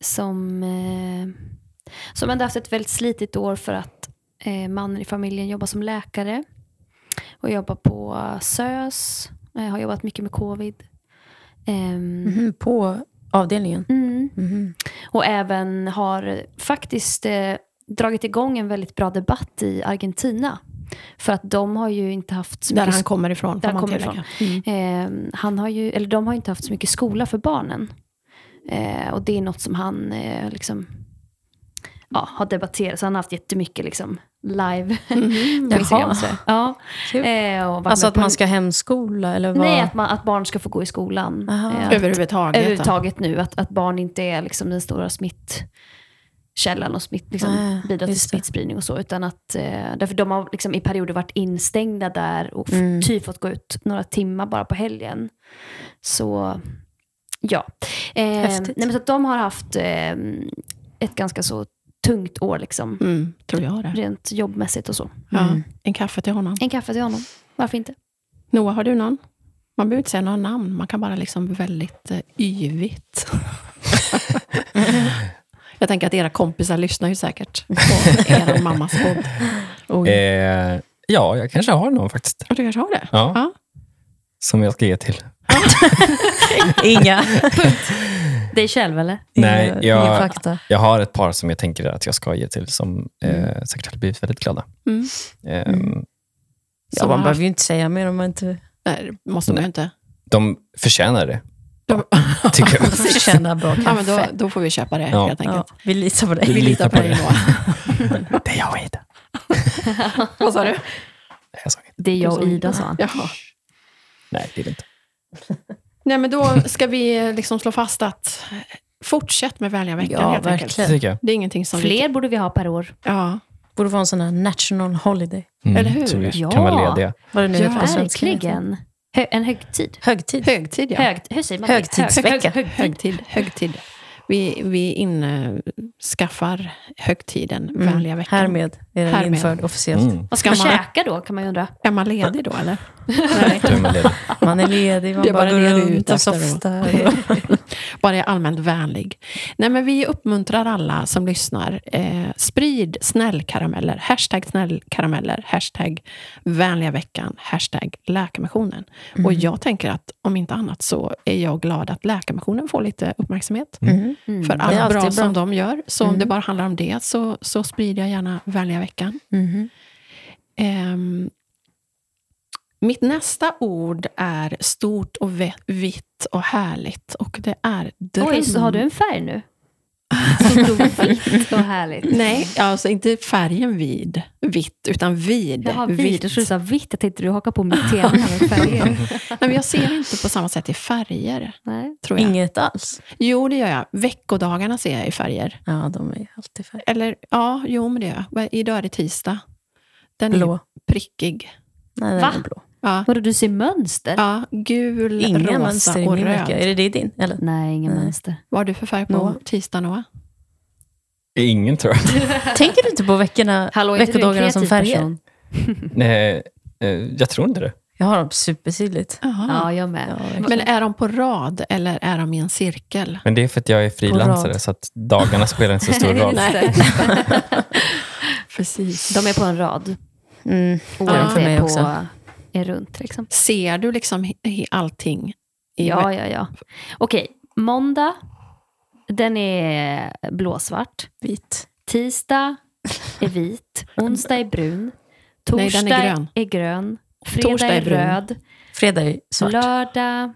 [SPEAKER 4] som, eh, som ändå haft ett väldigt slitigt år för att eh, mannen i familjen jobbar som läkare och jobbar på SÖS, eh, har jobbat mycket med covid. Ehm,
[SPEAKER 3] Mhm, På avdelningen?
[SPEAKER 4] mm.
[SPEAKER 3] Mhm.
[SPEAKER 4] Och även har faktiskt eh, dragit igång en väldigt bra debatt i Argentina. För att de har ju inte haft så
[SPEAKER 2] Där
[SPEAKER 4] mycket
[SPEAKER 2] han kommer ifrån.
[SPEAKER 4] Där
[SPEAKER 2] får man
[SPEAKER 4] kommer
[SPEAKER 2] tillägga. Mm.
[SPEAKER 4] Eh, han har ju, eller de har ju inte haft så mycket skola för barnen. Eh, och det är något som han eh, liksom, ja, har debatterat. Så han har haft jättemycket liksom, live på Instagram.
[SPEAKER 3] Mm-hmm. Jaha.
[SPEAKER 4] Så. Ja.
[SPEAKER 3] Kul.
[SPEAKER 4] Eh, och varit
[SPEAKER 3] Alltså
[SPEAKER 4] med
[SPEAKER 3] att
[SPEAKER 4] på-
[SPEAKER 3] man ska hemskola? Eller vad?
[SPEAKER 4] Nej, att, man, att barn ska få gå i skolan.
[SPEAKER 3] Aha.
[SPEAKER 4] Eh, att-
[SPEAKER 2] Överhuvudtaget.
[SPEAKER 4] överhuvudtaget nu. Att, att barn inte är liksom, den stora smitt källan och smitt, liksom,
[SPEAKER 3] Ah,
[SPEAKER 4] bidra till
[SPEAKER 3] just det.
[SPEAKER 4] smittspridning och så. Utan att, eh, därför de har liksom i perioder varit instängda där och f-
[SPEAKER 3] Mm.
[SPEAKER 4] typ fått gå ut några timmar bara på helgen. Så ja. Eh, nej,
[SPEAKER 3] Häftigt.
[SPEAKER 4] men så att de har haft eh, ett ganska så tungt år liksom,
[SPEAKER 2] Mm, tror jag det.
[SPEAKER 4] rent jobbmässigt och så.
[SPEAKER 2] Ja,
[SPEAKER 3] Mm.
[SPEAKER 2] en kaffe till honom.
[SPEAKER 4] En kaffe till honom, varför inte?
[SPEAKER 2] Noah, har du någon? Man behöver inte säga några namn, man kan bara liksom väldigt eh, yvigt. jag tänker att era kompisar lyssnar ju säkert på er mammas podd. Oj.
[SPEAKER 1] Eh, ja, jag kanske har någon faktiskt.
[SPEAKER 2] Och du kanske har det?
[SPEAKER 1] Ja.
[SPEAKER 2] Ja.
[SPEAKER 1] Som jag ska ge till.
[SPEAKER 3] Inga.
[SPEAKER 4] Dig själv eller?
[SPEAKER 1] Nej,
[SPEAKER 3] inga,
[SPEAKER 1] jag-
[SPEAKER 3] inga fakta.
[SPEAKER 1] Jag har ett par som jag tänker att jag ska ge till som eh, säkert hade blivit väldigt glada.
[SPEAKER 2] Mm.
[SPEAKER 1] Ehm,
[SPEAKER 3] Så
[SPEAKER 2] Som
[SPEAKER 3] man
[SPEAKER 2] har-
[SPEAKER 3] behöver ju inte säga mer om man inte
[SPEAKER 2] Nej, det måste man ju inte.
[SPEAKER 1] De förtjänar det,
[SPEAKER 2] Då,
[SPEAKER 1] tycker jag.
[SPEAKER 3] känner bra
[SPEAKER 2] ja, men
[SPEAKER 3] kaffe.
[SPEAKER 2] då, då får vi köpa det
[SPEAKER 1] Ja.
[SPEAKER 2] helt
[SPEAKER 3] ja,
[SPEAKER 2] enkelt.
[SPEAKER 3] vi litar på
[SPEAKER 1] Vi
[SPEAKER 3] dig.
[SPEAKER 1] litar på
[SPEAKER 2] dig
[SPEAKER 1] Det är jag och Ida.
[SPEAKER 2] då. Vad sa du?
[SPEAKER 1] Nej, Jag sa inget.
[SPEAKER 4] Det är jag och Ida sa han.
[SPEAKER 2] Jaha.
[SPEAKER 1] Nej, det är det inte.
[SPEAKER 2] Nej, men då ska vi liksom slå fast att fortsätt med välja veckan
[SPEAKER 3] Ja,
[SPEAKER 2] helt
[SPEAKER 1] Det
[SPEAKER 2] enkelt.
[SPEAKER 3] verkligen.
[SPEAKER 1] tycker jag.
[SPEAKER 2] Det är ingenting som... vi-
[SPEAKER 4] Fler borde vi ha per år.
[SPEAKER 2] Ja.
[SPEAKER 3] Borde vara en sån här national holiday.
[SPEAKER 1] Mm,
[SPEAKER 2] Eller hur?
[SPEAKER 1] Så vi
[SPEAKER 4] Ja.
[SPEAKER 1] kan vara lediga.
[SPEAKER 3] Vad det nu
[SPEAKER 2] Ja,
[SPEAKER 3] heter på svenska.
[SPEAKER 4] Verkligen. Hö- en högtid.
[SPEAKER 3] Högtid.
[SPEAKER 2] Högtid, ja.
[SPEAKER 4] Hög, hur säger man det?
[SPEAKER 3] Högtidsvecka.
[SPEAKER 4] Hög, hög, högtid.
[SPEAKER 2] Högtid. högtid. Vi, vi inskaffar högtiden vänliga veckan.
[SPEAKER 3] Mm. Härmed är den
[SPEAKER 2] Härmed.
[SPEAKER 3] införd officiellt.
[SPEAKER 1] Mm,
[SPEAKER 4] Vad ska
[SPEAKER 2] Ska
[SPEAKER 4] man
[SPEAKER 2] man-
[SPEAKER 4] käka då kan man ju undra.
[SPEAKER 2] Är man ledig då eller?
[SPEAKER 1] då är man ledig.
[SPEAKER 3] Man är ledig, man
[SPEAKER 2] Det är
[SPEAKER 3] bara
[SPEAKER 2] bara
[SPEAKER 3] går
[SPEAKER 2] det du är
[SPEAKER 3] runt
[SPEAKER 2] ute
[SPEAKER 3] och
[SPEAKER 2] efter då.
[SPEAKER 3] softar. och-
[SPEAKER 2] Bara är allmänt vänlig. Nej, men vi uppmuntrar alla som lyssnar. Eh, sprid snällkarameller. Hashtag snällkarameller. Hashtag vänliga veckan. Hashtag Läkarmissionen. Och
[SPEAKER 3] Mm.
[SPEAKER 2] jag tänker att om inte annat så är jag glad att Läkarmissionen får lite uppmärksamhet.
[SPEAKER 3] Mm.
[SPEAKER 2] För
[SPEAKER 3] Det är
[SPEAKER 2] allt bra,
[SPEAKER 3] alltid
[SPEAKER 2] som
[SPEAKER 3] bra. Mm.
[SPEAKER 2] de gör. Så om det bara handlar om det så, så sprider jag gärna vänliga veckan.
[SPEAKER 3] Mhm.
[SPEAKER 2] Ehm, mitt nästa ord är stort och vä- vitt och härligt. Och det är dröm.
[SPEAKER 4] Oj, så har du en färg nu? Stort och vitt och härligt.
[SPEAKER 2] Nej, alltså inte färgen vid, vitt, utan vid.
[SPEAKER 4] Jag har vit. Jag trodde du sa vitt. Jag tänkte du hakar på mitt tema med färger.
[SPEAKER 2] Nej, men jag ser inte på samma sätt i färger,
[SPEAKER 4] Nej.
[SPEAKER 2] tror jag.
[SPEAKER 3] Inget alls.
[SPEAKER 2] Jo, det gör jag. Veckodagarna ser jag i färger.
[SPEAKER 3] Ja, de är ju alltid färg.
[SPEAKER 2] Eller, ja, jo, men det gör jag. Vad- Idag är det tisdag. Den är
[SPEAKER 3] Blå.
[SPEAKER 2] prickig.
[SPEAKER 3] Nej, den
[SPEAKER 4] Va?
[SPEAKER 3] är blå.
[SPEAKER 2] Ja,
[SPEAKER 4] Vadå, du ser mönster?
[SPEAKER 2] ja gul,
[SPEAKER 3] Inga
[SPEAKER 2] rosa
[SPEAKER 3] mönster i
[SPEAKER 2] och
[SPEAKER 3] min vecka.
[SPEAKER 2] röd.
[SPEAKER 3] Är det det i din? Eller?
[SPEAKER 4] Nej, inga
[SPEAKER 3] Nej.
[SPEAKER 4] mönster.
[SPEAKER 2] Vad har du för färg på
[SPEAKER 3] Noah.
[SPEAKER 2] tisdag, Noah?
[SPEAKER 1] Ingen tror jag.
[SPEAKER 3] Tänker du inte på veckorna,
[SPEAKER 4] Hallå, är inte du en
[SPEAKER 3] veckodagarna
[SPEAKER 4] kreativ
[SPEAKER 3] som färger?
[SPEAKER 4] person?
[SPEAKER 2] Mm.
[SPEAKER 1] Nej, eh, jag tror inte det.
[SPEAKER 3] Jag har dem supersydligt.
[SPEAKER 2] Jaha.
[SPEAKER 4] Ah. Ja, jag
[SPEAKER 3] Ja,
[SPEAKER 4] med.
[SPEAKER 3] verkligen.
[SPEAKER 2] Men är de på rad eller är de i en cirkel?
[SPEAKER 1] Men det är för att jag är frilansare,
[SPEAKER 3] rad.
[SPEAKER 1] så att dagarna spelar inte så stor roll.
[SPEAKER 4] Just det.
[SPEAKER 2] Precis.
[SPEAKER 4] De är på en rad.
[SPEAKER 3] mm.
[SPEAKER 4] Och
[SPEAKER 2] Ja,
[SPEAKER 4] ja,
[SPEAKER 2] för
[SPEAKER 4] är
[SPEAKER 3] mig
[SPEAKER 4] på,
[SPEAKER 3] också.
[SPEAKER 4] är runt liksom.
[SPEAKER 2] Ser du liksom he- he- allting? i
[SPEAKER 4] Ja,
[SPEAKER 2] vä-
[SPEAKER 4] ja, ja. Okej, måndag. Den är blåsvart.
[SPEAKER 3] Vit.
[SPEAKER 4] Tisdag är vit, onsdag är brun,
[SPEAKER 2] Nej,
[SPEAKER 4] torsdag
[SPEAKER 2] den är grön.
[SPEAKER 4] Mm. är grön, fredag
[SPEAKER 2] Torsdag
[SPEAKER 4] är,
[SPEAKER 2] är brun.
[SPEAKER 4] röd,
[SPEAKER 3] Fredag är svart.
[SPEAKER 4] lördag...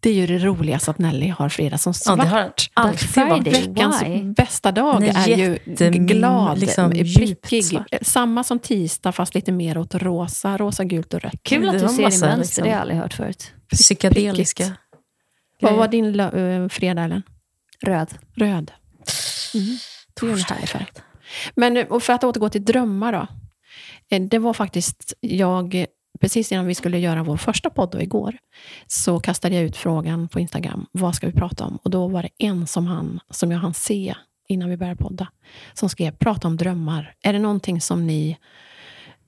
[SPEAKER 2] Det är ju det roligaste att Nelly har fredag som
[SPEAKER 3] Ja,
[SPEAKER 2] svart.
[SPEAKER 3] det har den alltid
[SPEAKER 4] Friday.
[SPEAKER 3] varit.
[SPEAKER 2] Veckans
[SPEAKER 4] Why?
[SPEAKER 2] bästa dag
[SPEAKER 3] Den är
[SPEAKER 2] är ju
[SPEAKER 3] jättem-
[SPEAKER 2] glad, eh,
[SPEAKER 3] liksom djupt
[SPEAKER 2] prickig.
[SPEAKER 3] svart.
[SPEAKER 2] Samma som tisdag fast lite mer åt rosa, rosa, gult och rött.
[SPEAKER 4] Kul
[SPEAKER 3] Det
[SPEAKER 4] att du
[SPEAKER 3] var
[SPEAKER 4] ser
[SPEAKER 3] massa,
[SPEAKER 4] i mönster,
[SPEAKER 3] liksom.
[SPEAKER 4] det har jag aldrig hört förut.
[SPEAKER 3] Psykedeliska.
[SPEAKER 2] Prickigt. Vad var din lö- eh, fredag, Ellen?
[SPEAKER 4] Röd.
[SPEAKER 2] Röd. Det är en härlig färg. Men eh, och för att återgå till drömmar då. Eh, Det var faktiskt jag, eh, precis innan vi skulle göra vår första podd då igår, så kastade jag ut frågan på Instagram, vad ska vi prata om? Och då var det en som, han, som jag hann se innan vi började podda, som skrev, prata om drömmar. Är det någonting som ni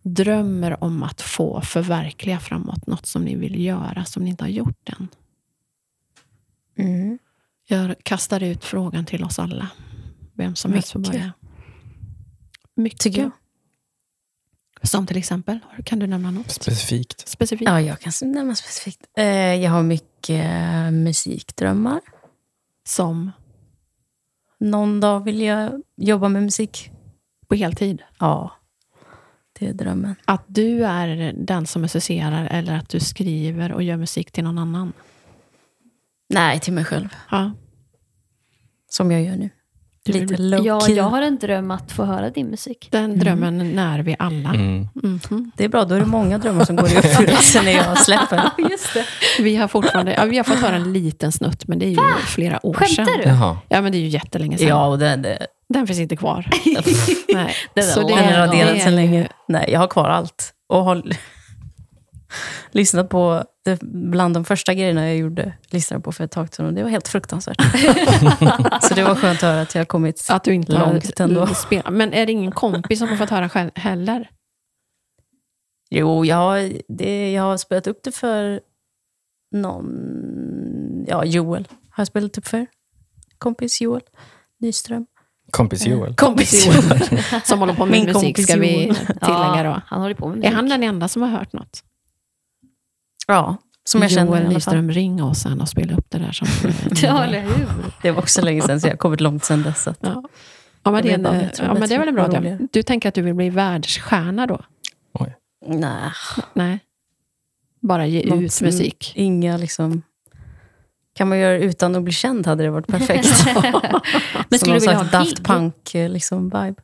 [SPEAKER 2] drömmer om att få förverkliga framåt? Något som ni vill göra som ni inte har gjort än?
[SPEAKER 3] Mm.
[SPEAKER 2] Jag kastar ut frågan till oss alla. Vem som helst får
[SPEAKER 3] Mycket.
[SPEAKER 2] börja. Mycket.
[SPEAKER 3] Tycker jag.
[SPEAKER 2] Som till exempel, kan du nämna något
[SPEAKER 1] Specifikt.
[SPEAKER 2] specifikt?
[SPEAKER 3] Ja, jag kan nämna specifikt. Eh, jag har mycket eh, musikdrömmar.
[SPEAKER 2] Som
[SPEAKER 3] Någon dag vill jag jobba med musik.
[SPEAKER 2] på heltid?
[SPEAKER 3] Ja, det är drömmen.
[SPEAKER 2] Att du är den som musicerar eller att du skriver och gör musik till någon annan?
[SPEAKER 3] Nej, till mig själv.
[SPEAKER 2] Ja,
[SPEAKER 3] Som jag gör nu.
[SPEAKER 2] Du vill
[SPEAKER 3] Lite
[SPEAKER 2] bli-
[SPEAKER 3] low
[SPEAKER 4] Ja,
[SPEAKER 3] key.
[SPEAKER 4] jag har en dröm att få höra din musik.
[SPEAKER 2] Den drömmen när vi alla.
[SPEAKER 1] Mm.
[SPEAKER 2] Mhm.
[SPEAKER 3] Det är bra, då är det många drömmar som går i uppfyllelse när jag släpper.
[SPEAKER 4] Just det.
[SPEAKER 2] Vi har fortfarande, ja, vi har fått höra en liten snutt, men det är ju flera år
[SPEAKER 4] Skämtar
[SPEAKER 2] sedan.
[SPEAKER 4] du?
[SPEAKER 1] Jaha.
[SPEAKER 2] Ja, men det är ju jättelänge sedan.
[SPEAKER 3] Ja, och den, den
[SPEAKER 2] Den finns inte kvar. Nej. Så det
[SPEAKER 3] är raderad
[SPEAKER 2] det
[SPEAKER 3] sedan
[SPEAKER 2] är ju-
[SPEAKER 3] länge. Nej, jag har kvar allt. Och har lyssnat på det, bland de första grejerna jag gjorde, lyssnade på för ett tag sedan och det var helt fruktansvärt. så det var skönt att höra att jag har kommit
[SPEAKER 2] Att du inte
[SPEAKER 3] Långt
[SPEAKER 2] har
[SPEAKER 3] ändå.
[SPEAKER 2] spelat. Men är det ingen kompis som har fått höra själv heller?
[SPEAKER 3] Jo, jag har, det, jag har spelat upp det för någon... Ja, Joel har jag spelat upp för. Kompis Joel Nyström.
[SPEAKER 1] Kompis Joel.
[SPEAKER 3] Kompis
[SPEAKER 2] Joel. Som håller på med
[SPEAKER 3] Min
[SPEAKER 2] musik,
[SPEAKER 3] kompis
[SPEAKER 2] ska vi
[SPEAKER 3] Joel.
[SPEAKER 2] tillägga då.
[SPEAKER 4] han håller på med
[SPEAKER 2] Är
[SPEAKER 4] musik.
[SPEAKER 2] han den enda som har hört något?
[SPEAKER 3] Ja, som jag känner i
[SPEAKER 2] Joel
[SPEAKER 3] alla fall.
[SPEAKER 2] Nyström, ring oss sen och spela upp det där. Som,
[SPEAKER 4] Ja, eller hur?
[SPEAKER 3] Det var också länge sedan, så jag har kommit långt sedan dess. Så att,
[SPEAKER 2] ja. Ja, men
[SPEAKER 3] Jag
[SPEAKER 2] det, är
[SPEAKER 3] vet inte,
[SPEAKER 2] en, eh,
[SPEAKER 3] jag tror
[SPEAKER 2] ja, men det är väl en bra
[SPEAKER 3] det var
[SPEAKER 2] dröm.
[SPEAKER 3] roligare.
[SPEAKER 2] Du tänker att du vill bli världsstjärna då?
[SPEAKER 3] nej,
[SPEAKER 2] Nej. Bara ge
[SPEAKER 3] Något
[SPEAKER 2] ut
[SPEAKER 3] som-
[SPEAKER 2] musik.
[SPEAKER 3] inga liksom... Kan man göra utan att bli känd hade det varit perfekt.
[SPEAKER 4] Men
[SPEAKER 3] Som
[SPEAKER 4] skulle
[SPEAKER 3] någon
[SPEAKER 4] du vilja
[SPEAKER 3] slags
[SPEAKER 4] ha
[SPEAKER 3] Daft
[SPEAKER 4] gig?
[SPEAKER 3] Punk-vibe. Liksom, vibe.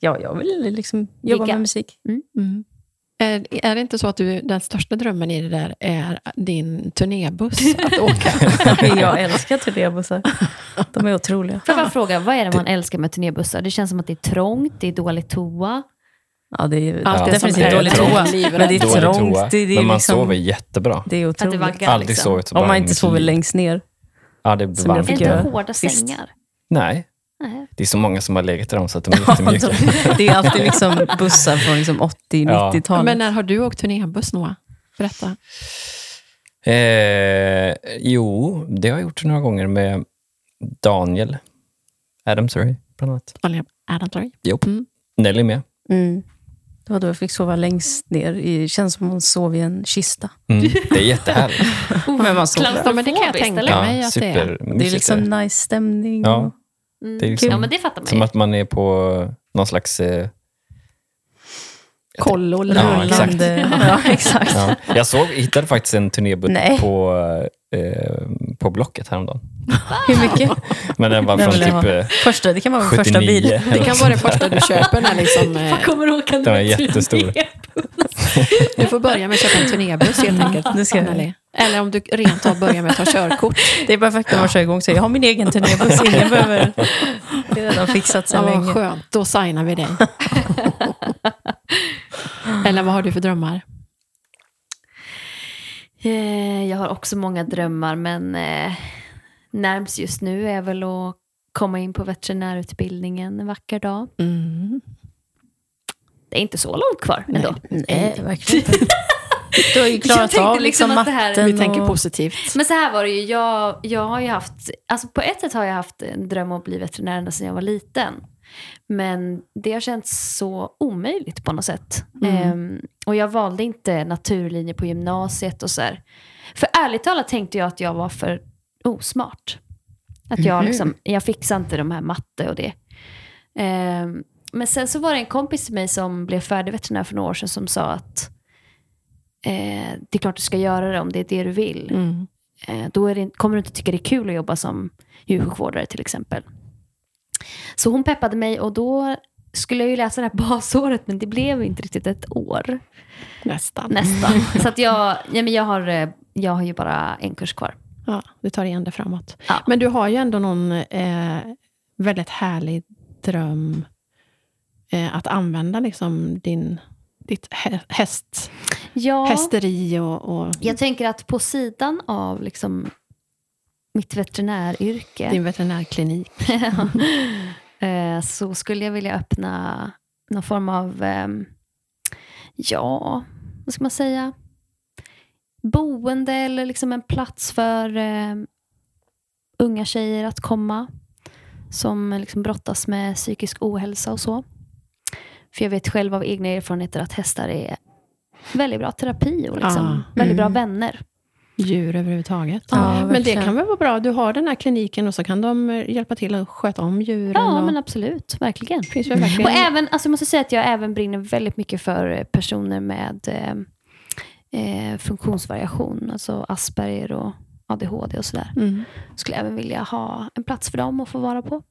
[SPEAKER 3] ja, jag vill liksom jobba
[SPEAKER 4] Gigga.
[SPEAKER 3] med musik.
[SPEAKER 2] Mm. Är, är det inte så att du, den största drömmen i det där är din turnébuss att åka?
[SPEAKER 3] jag älskar turnébussar. De är otroliga.
[SPEAKER 4] Får jag bara fråga, vad är det man älskar med turnébussar? Det känns som att det är trångt, det är dåligt toa.
[SPEAKER 3] Ja, det är ju
[SPEAKER 2] Allt
[SPEAKER 1] Ja.
[SPEAKER 2] det som
[SPEAKER 3] definitivt
[SPEAKER 2] är
[SPEAKER 3] dålig
[SPEAKER 1] trångt.
[SPEAKER 3] toa. Men det är
[SPEAKER 1] Dålig toa,
[SPEAKER 3] trångt. Det, det är
[SPEAKER 1] men man
[SPEAKER 3] liksom,
[SPEAKER 1] sover jättebra.
[SPEAKER 3] Det är
[SPEAKER 4] Att det
[SPEAKER 3] otroligt.
[SPEAKER 4] vaggar
[SPEAKER 1] Aldrig
[SPEAKER 4] liksom.
[SPEAKER 1] sovit så bra
[SPEAKER 3] Om man
[SPEAKER 1] i
[SPEAKER 3] inte
[SPEAKER 1] mitt
[SPEAKER 3] sover
[SPEAKER 1] liv.
[SPEAKER 3] längst ner.
[SPEAKER 1] Ja, det blir
[SPEAKER 3] Som jag
[SPEAKER 4] Är det
[SPEAKER 1] varmt.
[SPEAKER 3] fick
[SPEAKER 4] inte
[SPEAKER 3] göra.
[SPEAKER 4] hårda
[SPEAKER 3] Sist.
[SPEAKER 4] sängar?
[SPEAKER 1] Nej,
[SPEAKER 4] Nej.
[SPEAKER 1] det är så många som har legat i dem så att de är jättemjuka.
[SPEAKER 3] det är alltid liksom bussar från liksom 80-90-talet.
[SPEAKER 2] Men när har du åkt turnébuss, Noah? Berätta.
[SPEAKER 1] Eh, jo, det har jag gjort några gånger med Daniel Adams Ray, bland annat.
[SPEAKER 2] Daniel Adamsberg.
[SPEAKER 1] Jo.
[SPEAKER 2] Mm.
[SPEAKER 1] Nelly med.
[SPEAKER 3] Mm. Det var då jag fick sova längst ner. i- Det känns som att man sov i en kista.
[SPEAKER 1] Mm. Det är jättehärligt.
[SPEAKER 3] Men man sover.
[SPEAKER 4] Klaus-
[SPEAKER 2] Ja, men det kan jag
[SPEAKER 4] Klaustrofobiskt,
[SPEAKER 2] tänka
[SPEAKER 4] eller?
[SPEAKER 1] Ja,
[SPEAKER 2] mig att det är.
[SPEAKER 3] Det är
[SPEAKER 1] supermysigt
[SPEAKER 3] liksom
[SPEAKER 1] är det.
[SPEAKER 3] nice stämning.
[SPEAKER 1] Ja.
[SPEAKER 4] Mm.
[SPEAKER 1] Det är liksom
[SPEAKER 4] ja, men det fattar man
[SPEAKER 1] Som
[SPEAKER 4] ju.
[SPEAKER 1] att man är på någon slags... Eh,
[SPEAKER 2] Kollo eller
[SPEAKER 1] Ja, exakt.
[SPEAKER 3] Rullande. Ja, exakt.
[SPEAKER 1] ja. Jag såg, hittade faktiskt en turnébuss
[SPEAKER 3] Nej.
[SPEAKER 1] på, eh, på Blocket häromdagen.
[SPEAKER 3] Hur mycket?
[SPEAKER 1] Men den var
[SPEAKER 3] Den
[SPEAKER 1] från
[SPEAKER 3] vill jag
[SPEAKER 1] typ
[SPEAKER 3] ha.
[SPEAKER 1] eh,
[SPEAKER 3] Första, det kan vara min första
[SPEAKER 1] 79.
[SPEAKER 3] bil.
[SPEAKER 2] Det kan vara det första du köper. När liksom, eh,
[SPEAKER 4] Kommer du åka
[SPEAKER 1] Den var
[SPEAKER 4] ner till
[SPEAKER 1] jättestor.
[SPEAKER 4] det?
[SPEAKER 2] du får börja med att köpa en turnébuss helt enkelt.
[SPEAKER 3] Det ska jag.
[SPEAKER 2] Anneli. Eller om du rent av börjar med att ta körkort.
[SPEAKER 3] Det är perfekt när man kör igång. Så jag har min egen turnébuss. Ingen behöver... Det är redan fixat
[SPEAKER 2] Ja,
[SPEAKER 3] sedan
[SPEAKER 2] vad
[SPEAKER 3] länge.
[SPEAKER 2] skönt, då signar vi dig. Eller vad har du för drömmar?
[SPEAKER 4] Eh, Jag har också många drömmar, men eh, närmst just nu är väl att komma in på veterinärutbildningen en vacker dag.
[SPEAKER 2] Mm.
[SPEAKER 4] Det är inte så långt kvar
[SPEAKER 2] Nej.
[SPEAKER 4] ändå.
[SPEAKER 3] Nej, verkligen inte. Du har ju
[SPEAKER 4] mm, eh. Jag
[SPEAKER 3] klarat
[SPEAKER 4] tänkte
[SPEAKER 3] av
[SPEAKER 4] liksom
[SPEAKER 3] liksom
[SPEAKER 4] att det här-
[SPEAKER 3] matten.
[SPEAKER 2] Vi tänker
[SPEAKER 3] och-
[SPEAKER 2] positivt.
[SPEAKER 4] Men så här var det ju, jag, jag har ju haft, alltså på ett sätt har jag haft en dröm om att bli veterinär ända sedan jag var liten. Men det har känts så omöjligt på något sätt.
[SPEAKER 2] Mm.
[SPEAKER 4] Ehm, och jag valde inte naturlinje på gymnasiet och så här. För ärligt talat tänkte jag att jag var för osmart. Att jag,
[SPEAKER 2] Mhm.
[SPEAKER 4] liksom, jag fixar inte de här matte och det. Ehm, men sen så var det en kompis till mig som blev färdig veterinär för några år sedan som sa att eh, det är klart du ska göra det om det är det du vill.
[SPEAKER 2] Mm.
[SPEAKER 4] Eh, Då är det, kommer du inte tycka det är kul att jobba som djursjukvårdare till exempel. Så hon peppade mig och då skulle jag ju läsa det här basåret men det blev inte riktigt ett år
[SPEAKER 2] Nästan.
[SPEAKER 4] nästan. Så att jag, ja, men jag, har, eh, jag har ju bara en kurs kvar.
[SPEAKER 2] Ja, vi tar igen det framåt.
[SPEAKER 4] Ja.
[SPEAKER 2] Men du har ju ändå någon eh, väldigt härlig dröm eh, att använda liksom din, ditt hä- häst,
[SPEAKER 4] Ja,
[SPEAKER 2] hästeri och, och
[SPEAKER 4] jag tänker att på sidan av liksom mitt veterinäryrke
[SPEAKER 2] din veterinärklinik.
[SPEAKER 4] Eh, så skulle jag vilja öppna någon form av, ehm, ja, vad ska man säga, boende eller liksom en plats för ehm, unga tjejer att komma som liksom brottas med psykisk ohälsa och så. För jag vet själv av egna erfarenheter att hästar är väldigt bra terapi och liksom
[SPEAKER 2] Ah,
[SPEAKER 4] väldigt bra
[SPEAKER 3] mm.
[SPEAKER 4] vänner.
[SPEAKER 2] Djur överhuvudtaget.
[SPEAKER 3] Ja,
[SPEAKER 2] Men det
[SPEAKER 3] verkligen.
[SPEAKER 2] kan väl vara bra? Du har den här kliniken och så kan de eh, hjälpa till att sköta om djuren.
[SPEAKER 4] Ja,
[SPEAKER 2] och,
[SPEAKER 4] men absolut, verkligen.
[SPEAKER 2] finns väl verkligen...
[SPEAKER 4] Och även, alltså jag måste säga att jag även brinner väldigt mycket för eh, personer med eh, eh, funktionsvariation, alltså Asperger och ADHD och sådär.
[SPEAKER 2] Mm.
[SPEAKER 4] Skulle även vilja ha en plats för dem att få vara på.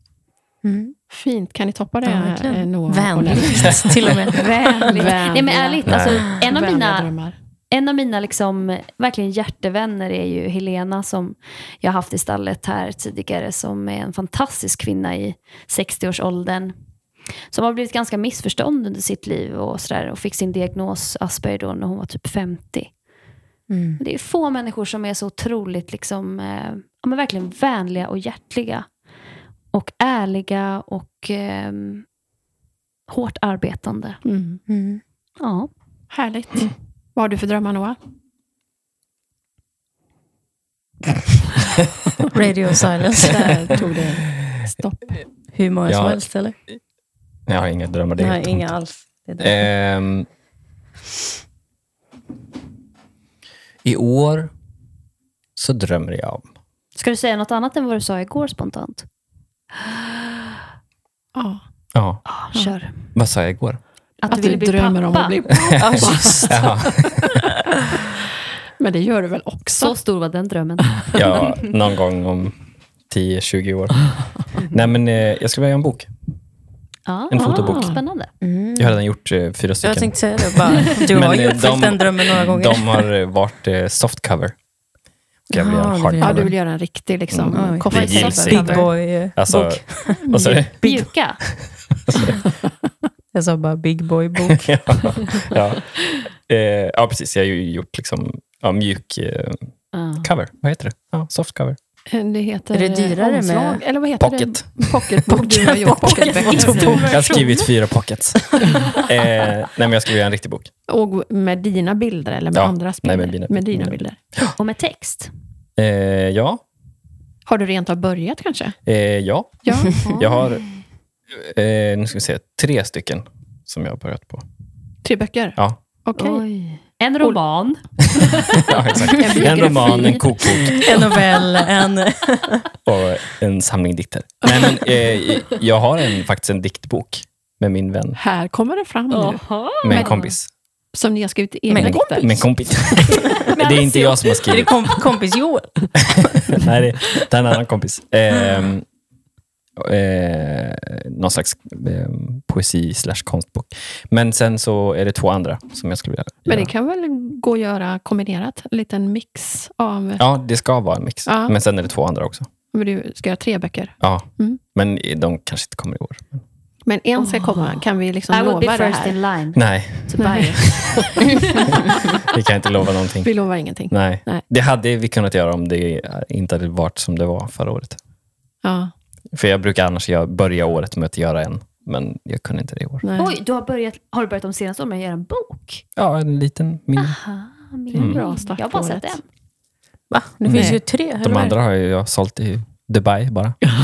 [SPEAKER 3] Mm.
[SPEAKER 2] Fint, kan ni toppa det?
[SPEAKER 3] Ja, verkligen.
[SPEAKER 2] eh, Noah och Nelly?
[SPEAKER 3] Vänligt till och med.
[SPEAKER 4] Vänligt. Nej men
[SPEAKER 2] Vänliga-
[SPEAKER 4] ärligt, alltså, en av
[SPEAKER 2] vänliga
[SPEAKER 4] mina
[SPEAKER 2] drömmar.
[SPEAKER 4] En av mina liksom, verkligen hjärtevänner är ju Helena som jag har haft i stallet här tidigare som är en fantastisk kvinna i 60-årsåldern. Som har blivit ganska missförstånd under sitt liv och, sådär, och fick sin diagnos Asperger då när hon var typ 50.
[SPEAKER 3] Mm.
[SPEAKER 4] Det är få människor som är så otroligt liksom, eh, ja, men verkligen vänliga och hjärtliga. Och ärliga och eh, hårt arbetande.
[SPEAKER 2] Mm.
[SPEAKER 3] Mm.
[SPEAKER 4] Ja.
[SPEAKER 2] Härligt. Vad har du för drömmar, Noah?
[SPEAKER 3] Radio silence.
[SPEAKER 2] Där tog det stopp.
[SPEAKER 3] Hur många som
[SPEAKER 1] Ja.
[SPEAKER 3] helst eller?
[SPEAKER 1] Jag har inga drömmar. Det är helt
[SPEAKER 3] Nej,
[SPEAKER 1] tomt.
[SPEAKER 3] inga alls. Det är det.
[SPEAKER 1] Ehm, I år så drömmer jag om...
[SPEAKER 4] Ska du säga något annat än vad du sa igår spontant?
[SPEAKER 2] Ja.
[SPEAKER 1] Ja,
[SPEAKER 4] Ja, kör.
[SPEAKER 1] vad sa jag igår?
[SPEAKER 4] Att,
[SPEAKER 2] Att du drömmer om att bli
[SPEAKER 1] Eh.
[SPEAKER 3] Ja,
[SPEAKER 2] pappa.
[SPEAKER 3] just.
[SPEAKER 1] Jaha.
[SPEAKER 2] Men det gör du väl också?
[SPEAKER 4] Så stor var den drömmen.
[SPEAKER 1] Ja, någon gång om 10-20 år. Nej, men eh, jag skulle vilja göra en bok.
[SPEAKER 4] Ja, Ah,
[SPEAKER 1] En fotobok.
[SPEAKER 4] Spännande.
[SPEAKER 3] Mm.
[SPEAKER 1] Jag har redan gjort eh, fyra stycken.
[SPEAKER 3] Jag tänkte säga det bara. Du
[SPEAKER 1] Men,
[SPEAKER 3] har ju
[SPEAKER 1] eh,
[SPEAKER 3] uppfyllt
[SPEAKER 1] de-
[SPEAKER 3] den drömmen några gånger.
[SPEAKER 1] De har eh, varit eh, softcover. Och jag vill göra
[SPEAKER 3] Ja,
[SPEAKER 1] en
[SPEAKER 3] det vill jag.
[SPEAKER 2] Ja,
[SPEAKER 1] hardcover.
[SPEAKER 2] du vill göra en riktig liksom,
[SPEAKER 3] Mm. Oj.
[SPEAKER 2] copy
[SPEAKER 1] Det gills
[SPEAKER 2] paste.
[SPEAKER 1] inte.
[SPEAKER 3] Big eh, boy-bok.
[SPEAKER 1] Alltså, vad sa du?
[SPEAKER 4] Mjuka.
[SPEAKER 3] Jag sa bara big boy-bok.
[SPEAKER 1] ja, ja. Eh, ja, precis. Jag har ju gjort liksom, ja, mjuk eh,
[SPEAKER 4] Ja.
[SPEAKER 1] cover. Vad heter det? Ja, softcover.
[SPEAKER 2] Det heter
[SPEAKER 3] Är det dyrare med-
[SPEAKER 2] omslag, Eller vad heter
[SPEAKER 1] Pocket.
[SPEAKER 2] det? Pocketbok. Du har gjort
[SPEAKER 3] Pocket-
[SPEAKER 2] pocketbok.
[SPEAKER 1] Mm. Jag har skrivit fyra pockets. eh, nej, men jag ska göra en riktig bok.
[SPEAKER 2] Och med dina bilder eller med
[SPEAKER 1] Ja,
[SPEAKER 2] andras
[SPEAKER 1] nej,
[SPEAKER 2] bilder?
[SPEAKER 1] med mina-
[SPEAKER 2] med dina
[SPEAKER 1] mina.
[SPEAKER 2] bilder.
[SPEAKER 4] Och med text.
[SPEAKER 1] Eh, ja,
[SPEAKER 2] Har du rent av börjat kanske?
[SPEAKER 1] eh, ja.
[SPEAKER 2] Ja.
[SPEAKER 1] Jag har eh, nu ska vi se, tre stycken som jag har börjat på.
[SPEAKER 2] Tre böcker?
[SPEAKER 1] Ja,
[SPEAKER 2] Okej.
[SPEAKER 4] Oj. En roman.
[SPEAKER 1] ja exakt. En
[SPEAKER 4] biografi.
[SPEAKER 1] roman, en kokbok
[SPEAKER 3] En novell, en... eh,
[SPEAKER 1] och en samling dikter. Nej, men, eh, jag har en, faktiskt en diktbok med min vän,
[SPEAKER 2] Här kommer det fram nu.
[SPEAKER 4] Jaha.
[SPEAKER 1] med en kompis.
[SPEAKER 2] Som ni har skrivit egna
[SPEAKER 3] Men-
[SPEAKER 2] dikter.
[SPEAKER 1] Med en kompis. det är inte jag som har
[SPEAKER 3] Är det
[SPEAKER 1] skrivit.
[SPEAKER 3] komp- kompis Joel?
[SPEAKER 1] Nej, det det är en annan kompis. Ehm, eh, någon slags eh, poesi slash konstbok. Men sen så är det två andra som jag skulle vilja
[SPEAKER 2] Men det
[SPEAKER 1] göra.
[SPEAKER 2] kan väl gå att göra kombinerat? En liten mix av...
[SPEAKER 1] Ja, det ska vara en mix.
[SPEAKER 2] Ja.
[SPEAKER 1] Men sen är det två andra också.
[SPEAKER 2] Men du ska göra tre böcker.
[SPEAKER 1] Ja.
[SPEAKER 2] Mm.
[SPEAKER 1] Men de kanske inte kommer i år.
[SPEAKER 2] Men en ska komma. Kan vi liksom
[SPEAKER 4] Ah. I will
[SPEAKER 2] lova
[SPEAKER 4] be
[SPEAKER 2] det
[SPEAKER 4] first
[SPEAKER 2] här?
[SPEAKER 4] in line
[SPEAKER 1] Nej,
[SPEAKER 4] to buy it.
[SPEAKER 1] vi kan inte lova någonting.
[SPEAKER 2] Vi lovar ingenting.
[SPEAKER 1] Nej.
[SPEAKER 2] Nej.
[SPEAKER 1] Det hade vi kunnat göra om det inte hade varit som det var förra året.
[SPEAKER 2] Ja,
[SPEAKER 1] För jag brukar annars göra- börja året med att göra en, men jag kunde inte det i år.
[SPEAKER 2] nej.
[SPEAKER 4] Oj, du har, börjat, har du börjat de senaste åren med att göra en bok?
[SPEAKER 1] Ja, en liten min.
[SPEAKER 2] Ah,
[SPEAKER 4] Aha, min
[SPEAKER 1] Mm.
[SPEAKER 2] Bra start
[SPEAKER 4] Jag har bara
[SPEAKER 2] på
[SPEAKER 4] sett
[SPEAKER 2] året.
[SPEAKER 4] en.
[SPEAKER 3] Va? Det finns
[SPEAKER 2] Nej.
[SPEAKER 3] ju tre. eller
[SPEAKER 1] De
[SPEAKER 3] vad är
[SPEAKER 1] andra har ju jag sålt i Dubai bara.
[SPEAKER 4] Alltså,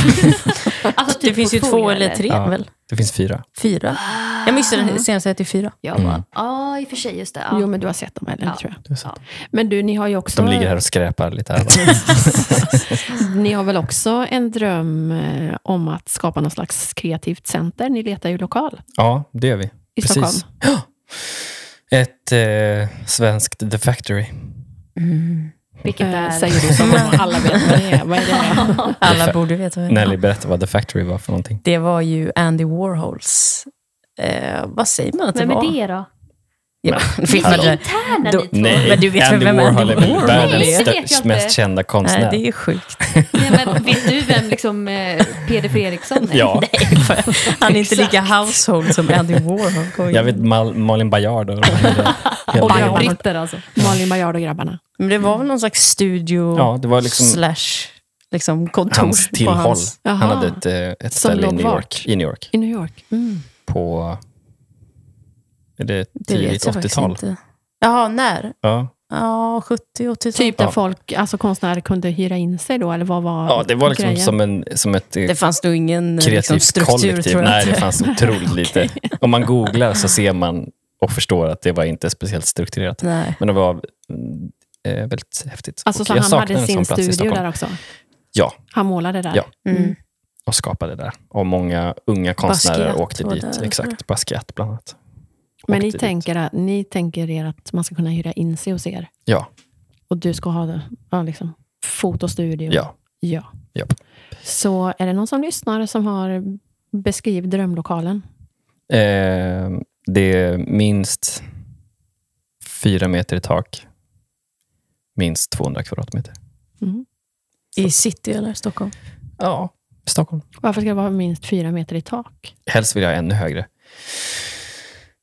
[SPEAKER 4] typ
[SPEAKER 3] Det Det finns ju två
[SPEAKER 4] portfolio,
[SPEAKER 3] eller tre
[SPEAKER 1] Ja.
[SPEAKER 3] väl?
[SPEAKER 1] Det finns fyra.
[SPEAKER 3] Fyra. Jag missade den senaste, jag till fyra.
[SPEAKER 1] Mm.
[SPEAKER 4] Jag bara, ja i och för sig, just det. Ja.
[SPEAKER 2] Jo, men du har sett dem, eller?
[SPEAKER 4] Ja.
[SPEAKER 2] tror jag.
[SPEAKER 1] Du har sett
[SPEAKER 4] Ja.
[SPEAKER 2] Men du, ni har ju också...
[SPEAKER 1] De ligger här och skräpar lite här. och där.
[SPEAKER 2] Ni har väl också en dröm eh, om att skapa någon slags kreativt center? Ni letar ju lokal
[SPEAKER 1] Ja, det gör vi.
[SPEAKER 2] i Stockholm.
[SPEAKER 1] Ja. Ett eh, svenskt The Factory.
[SPEAKER 4] Vilket
[SPEAKER 2] Eh,
[SPEAKER 4] är...
[SPEAKER 2] Säger du som om alla vet vad det är. Vad är det?
[SPEAKER 3] Alla borde veta vad det
[SPEAKER 1] Nelly,
[SPEAKER 3] är.
[SPEAKER 1] berätta vad The Factory var för någonting.
[SPEAKER 3] Det var ju Andy Warhols... Eh, vad säger man att det
[SPEAKER 4] Vem är
[SPEAKER 3] var?
[SPEAKER 4] det då?
[SPEAKER 3] Ja,
[SPEAKER 1] Men-
[SPEAKER 4] Är det
[SPEAKER 3] det
[SPEAKER 4] interna
[SPEAKER 3] Då-
[SPEAKER 4] ni två?
[SPEAKER 1] Nej,
[SPEAKER 3] Men du vet
[SPEAKER 1] Andy
[SPEAKER 3] vem Andy
[SPEAKER 1] Warhol är väl
[SPEAKER 3] Warhol
[SPEAKER 1] världens
[SPEAKER 4] är? Det
[SPEAKER 1] stö-
[SPEAKER 4] vet jag inte.
[SPEAKER 1] mest kända
[SPEAKER 3] Nej,
[SPEAKER 1] konstnär.
[SPEAKER 3] det är sjukt.
[SPEAKER 4] Nej, men vet du vem liksom, eh, Peder Fredriksson är?
[SPEAKER 1] Ja.
[SPEAKER 4] Nej, för-
[SPEAKER 3] Han är inte
[SPEAKER 4] Exakt.
[SPEAKER 3] lika household som Andy Warhol. Kom igen.
[SPEAKER 1] Jag vet Mal- Malin Baryard. och de här- hela-
[SPEAKER 2] Oj,
[SPEAKER 1] hela-
[SPEAKER 2] oj, oj.
[SPEAKER 4] Britter alltså.
[SPEAKER 2] Malin Baryard och grabbarna.
[SPEAKER 3] Men det var väl någon slags studio
[SPEAKER 1] Ja, det var liksom
[SPEAKER 3] slash liksom kontor
[SPEAKER 1] hans
[SPEAKER 3] på
[SPEAKER 1] tillhåll.
[SPEAKER 3] hans-
[SPEAKER 2] Jaha.
[SPEAKER 1] Han hade ett, eh, ett
[SPEAKER 2] Som
[SPEAKER 1] ställe i
[SPEAKER 2] låg
[SPEAKER 1] New
[SPEAKER 2] vart?
[SPEAKER 1] York, i New York
[SPEAKER 2] I New York. Mm.
[SPEAKER 1] på är det
[SPEAKER 3] Det
[SPEAKER 1] tidigt
[SPEAKER 3] vet jag faktiskt
[SPEAKER 1] 80-tal.
[SPEAKER 3] inte. Jaha, när?
[SPEAKER 1] Ja.
[SPEAKER 3] Ja, 70, 80-tal.
[SPEAKER 2] Typ där
[SPEAKER 1] Ja.
[SPEAKER 2] folk, alltså konstnärer kunde hyra in sig då, eller vad var
[SPEAKER 1] ja, det var liksom
[SPEAKER 2] grejen?
[SPEAKER 1] som, en, som ett eh,
[SPEAKER 3] Det fanns nog ingen eh,
[SPEAKER 1] kreativt
[SPEAKER 3] liksom, struktur
[SPEAKER 1] kollektiv.
[SPEAKER 3] tror jag.
[SPEAKER 1] Nej, det
[SPEAKER 3] inte.
[SPEAKER 1] fanns otroligt lite. Om man googlar så ser man och förstår att det var inte speciellt strukturerat.
[SPEAKER 3] Nej.
[SPEAKER 1] Men det var mm, eh, väldigt häftigt.
[SPEAKER 2] Alltså
[SPEAKER 1] Och
[SPEAKER 2] så
[SPEAKER 1] jag
[SPEAKER 2] han
[SPEAKER 1] saknar en
[SPEAKER 2] hade sin
[SPEAKER 1] sån plats i
[SPEAKER 2] studio
[SPEAKER 1] Stockholm.
[SPEAKER 2] där också?
[SPEAKER 1] Ja.
[SPEAKER 2] Han målade där?
[SPEAKER 1] Ja.
[SPEAKER 3] Mm.
[SPEAKER 1] och skapade där. Och många unga konstnärer
[SPEAKER 3] Basquiat
[SPEAKER 1] åkte
[SPEAKER 3] var
[SPEAKER 1] dit.
[SPEAKER 3] där.
[SPEAKER 1] Exakt, Basquiat bland annat.
[SPEAKER 2] Men
[SPEAKER 1] Åkte
[SPEAKER 2] ni
[SPEAKER 1] dit.
[SPEAKER 2] tänker, att, ni tänker er att man ska kunna hyra in sig hos er?
[SPEAKER 1] Ja.
[SPEAKER 2] Och du ska ha det, ja, liksom, fotostudio?
[SPEAKER 1] Ja.
[SPEAKER 2] ja.
[SPEAKER 1] Ja.
[SPEAKER 2] Så är det någon som lyssnar som har Beskriv drömlokalen.
[SPEAKER 1] Eh, det är minst fyra meter i tak. Minst 200 kvadratmeter.
[SPEAKER 2] Mm.
[SPEAKER 3] I city eller Stockholm?
[SPEAKER 1] Ja, Stockholm.
[SPEAKER 2] Varför ska det vara minst fyra meter i tak?
[SPEAKER 1] Helst vill jag ha ännu högre.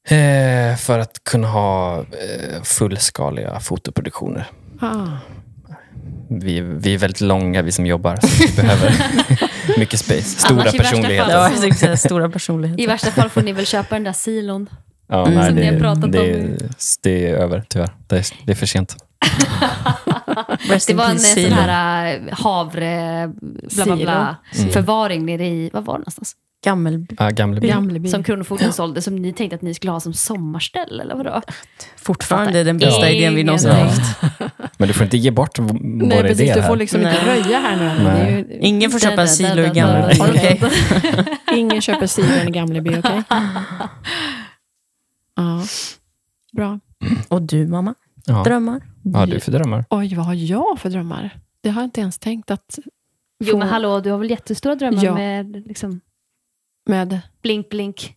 [SPEAKER 1] Eh, för att kunna ha eh, fullskaliga fotoproduktioner.
[SPEAKER 2] Ah.
[SPEAKER 1] Vi, vi är väldigt långa, vi som jobbar. Så vi behöver mycket space. Stora
[SPEAKER 4] Annars i värsta
[SPEAKER 1] personligheter.
[SPEAKER 4] fall-
[SPEAKER 3] Ja, jag tänkte säga stora
[SPEAKER 4] I
[SPEAKER 3] personligheter.
[SPEAKER 4] värsta fall får ni väl köpa den där silon.
[SPEAKER 1] Ja,
[SPEAKER 3] Mm.
[SPEAKER 1] nej,
[SPEAKER 4] Som ni
[SPEAKER 1] det,
[SPEAKER 4] har pratat
[SPEAKER 1] det,
[SPEAKER 4] om.
[SPEAKER 1] det är över, tyvärr. Det är, det är för sent.
[SPEAKER 3] Rest
[SPEAKER 4] Det
[SPEAKER 3] in
[SPEAKER 4] var en eh,
[SPEAKER 3] peace,
[SPEAKER 4] sån
[SPEAKER 3] Silo.
[SPEAKER 4] här eh, havre bla, bla, bla, förvaring nere i, vad var det någonstans?
[SPEAKER 3] Gammelby.
[SPEAKER 1] Ah, Gamleby.
[SPEAKER 2] Gamleby.
[SPEAKER 4] Som Kronofogden sålde, som ni tänkte att ni skulle ha som sommarställe eller vadå?
[SPEAKER 3] Fortfarande den bästa
[SPEAKER 4] Ja.
[SPEAKER 3] idén vi någonsin
[SPEAKER 1] Ja.
[SPEAKER 3] har haft.
[SPEAKER 1] Men du får inte ge bort v- våra
[SPEAKER 2] Nej, precis.
[SPEAKER 1] idéer
[SPEAKER 2] Du
[SPEAKER 1] här.
[SPEAKER 2] får liksom inte
[SPEAKER 3] Nej.
[SPEAKER 2] röja här nu. Det är ju,
[SPEAKER 3] Ingen får köpa en silo i
[SPEAKER 4] gamla
[SPEAKER 3] Gammelby. Okej.
[SPEAKER 2] ingen köper cider i Gamleby, okej? Ja. Bra.
[SPEAKER 3] Och du mamma?
[SPEAKER 1] ja.
[SPEAKER 3] Drömmar?
[SPEAKER 1] ja, du för drömmar.
[SPEAKER 2] Oj, vad har jag för drömmar? Det har jag inte ens tänkt att...
[SPEAKER 4] Jo men hallå, du har väl jättestora drömmar
[SPEAKER 2] Ja.
[SPEAKER 4] med liksom,
[SPEAKER 2] Med
[SPEAKER 4] blink blink,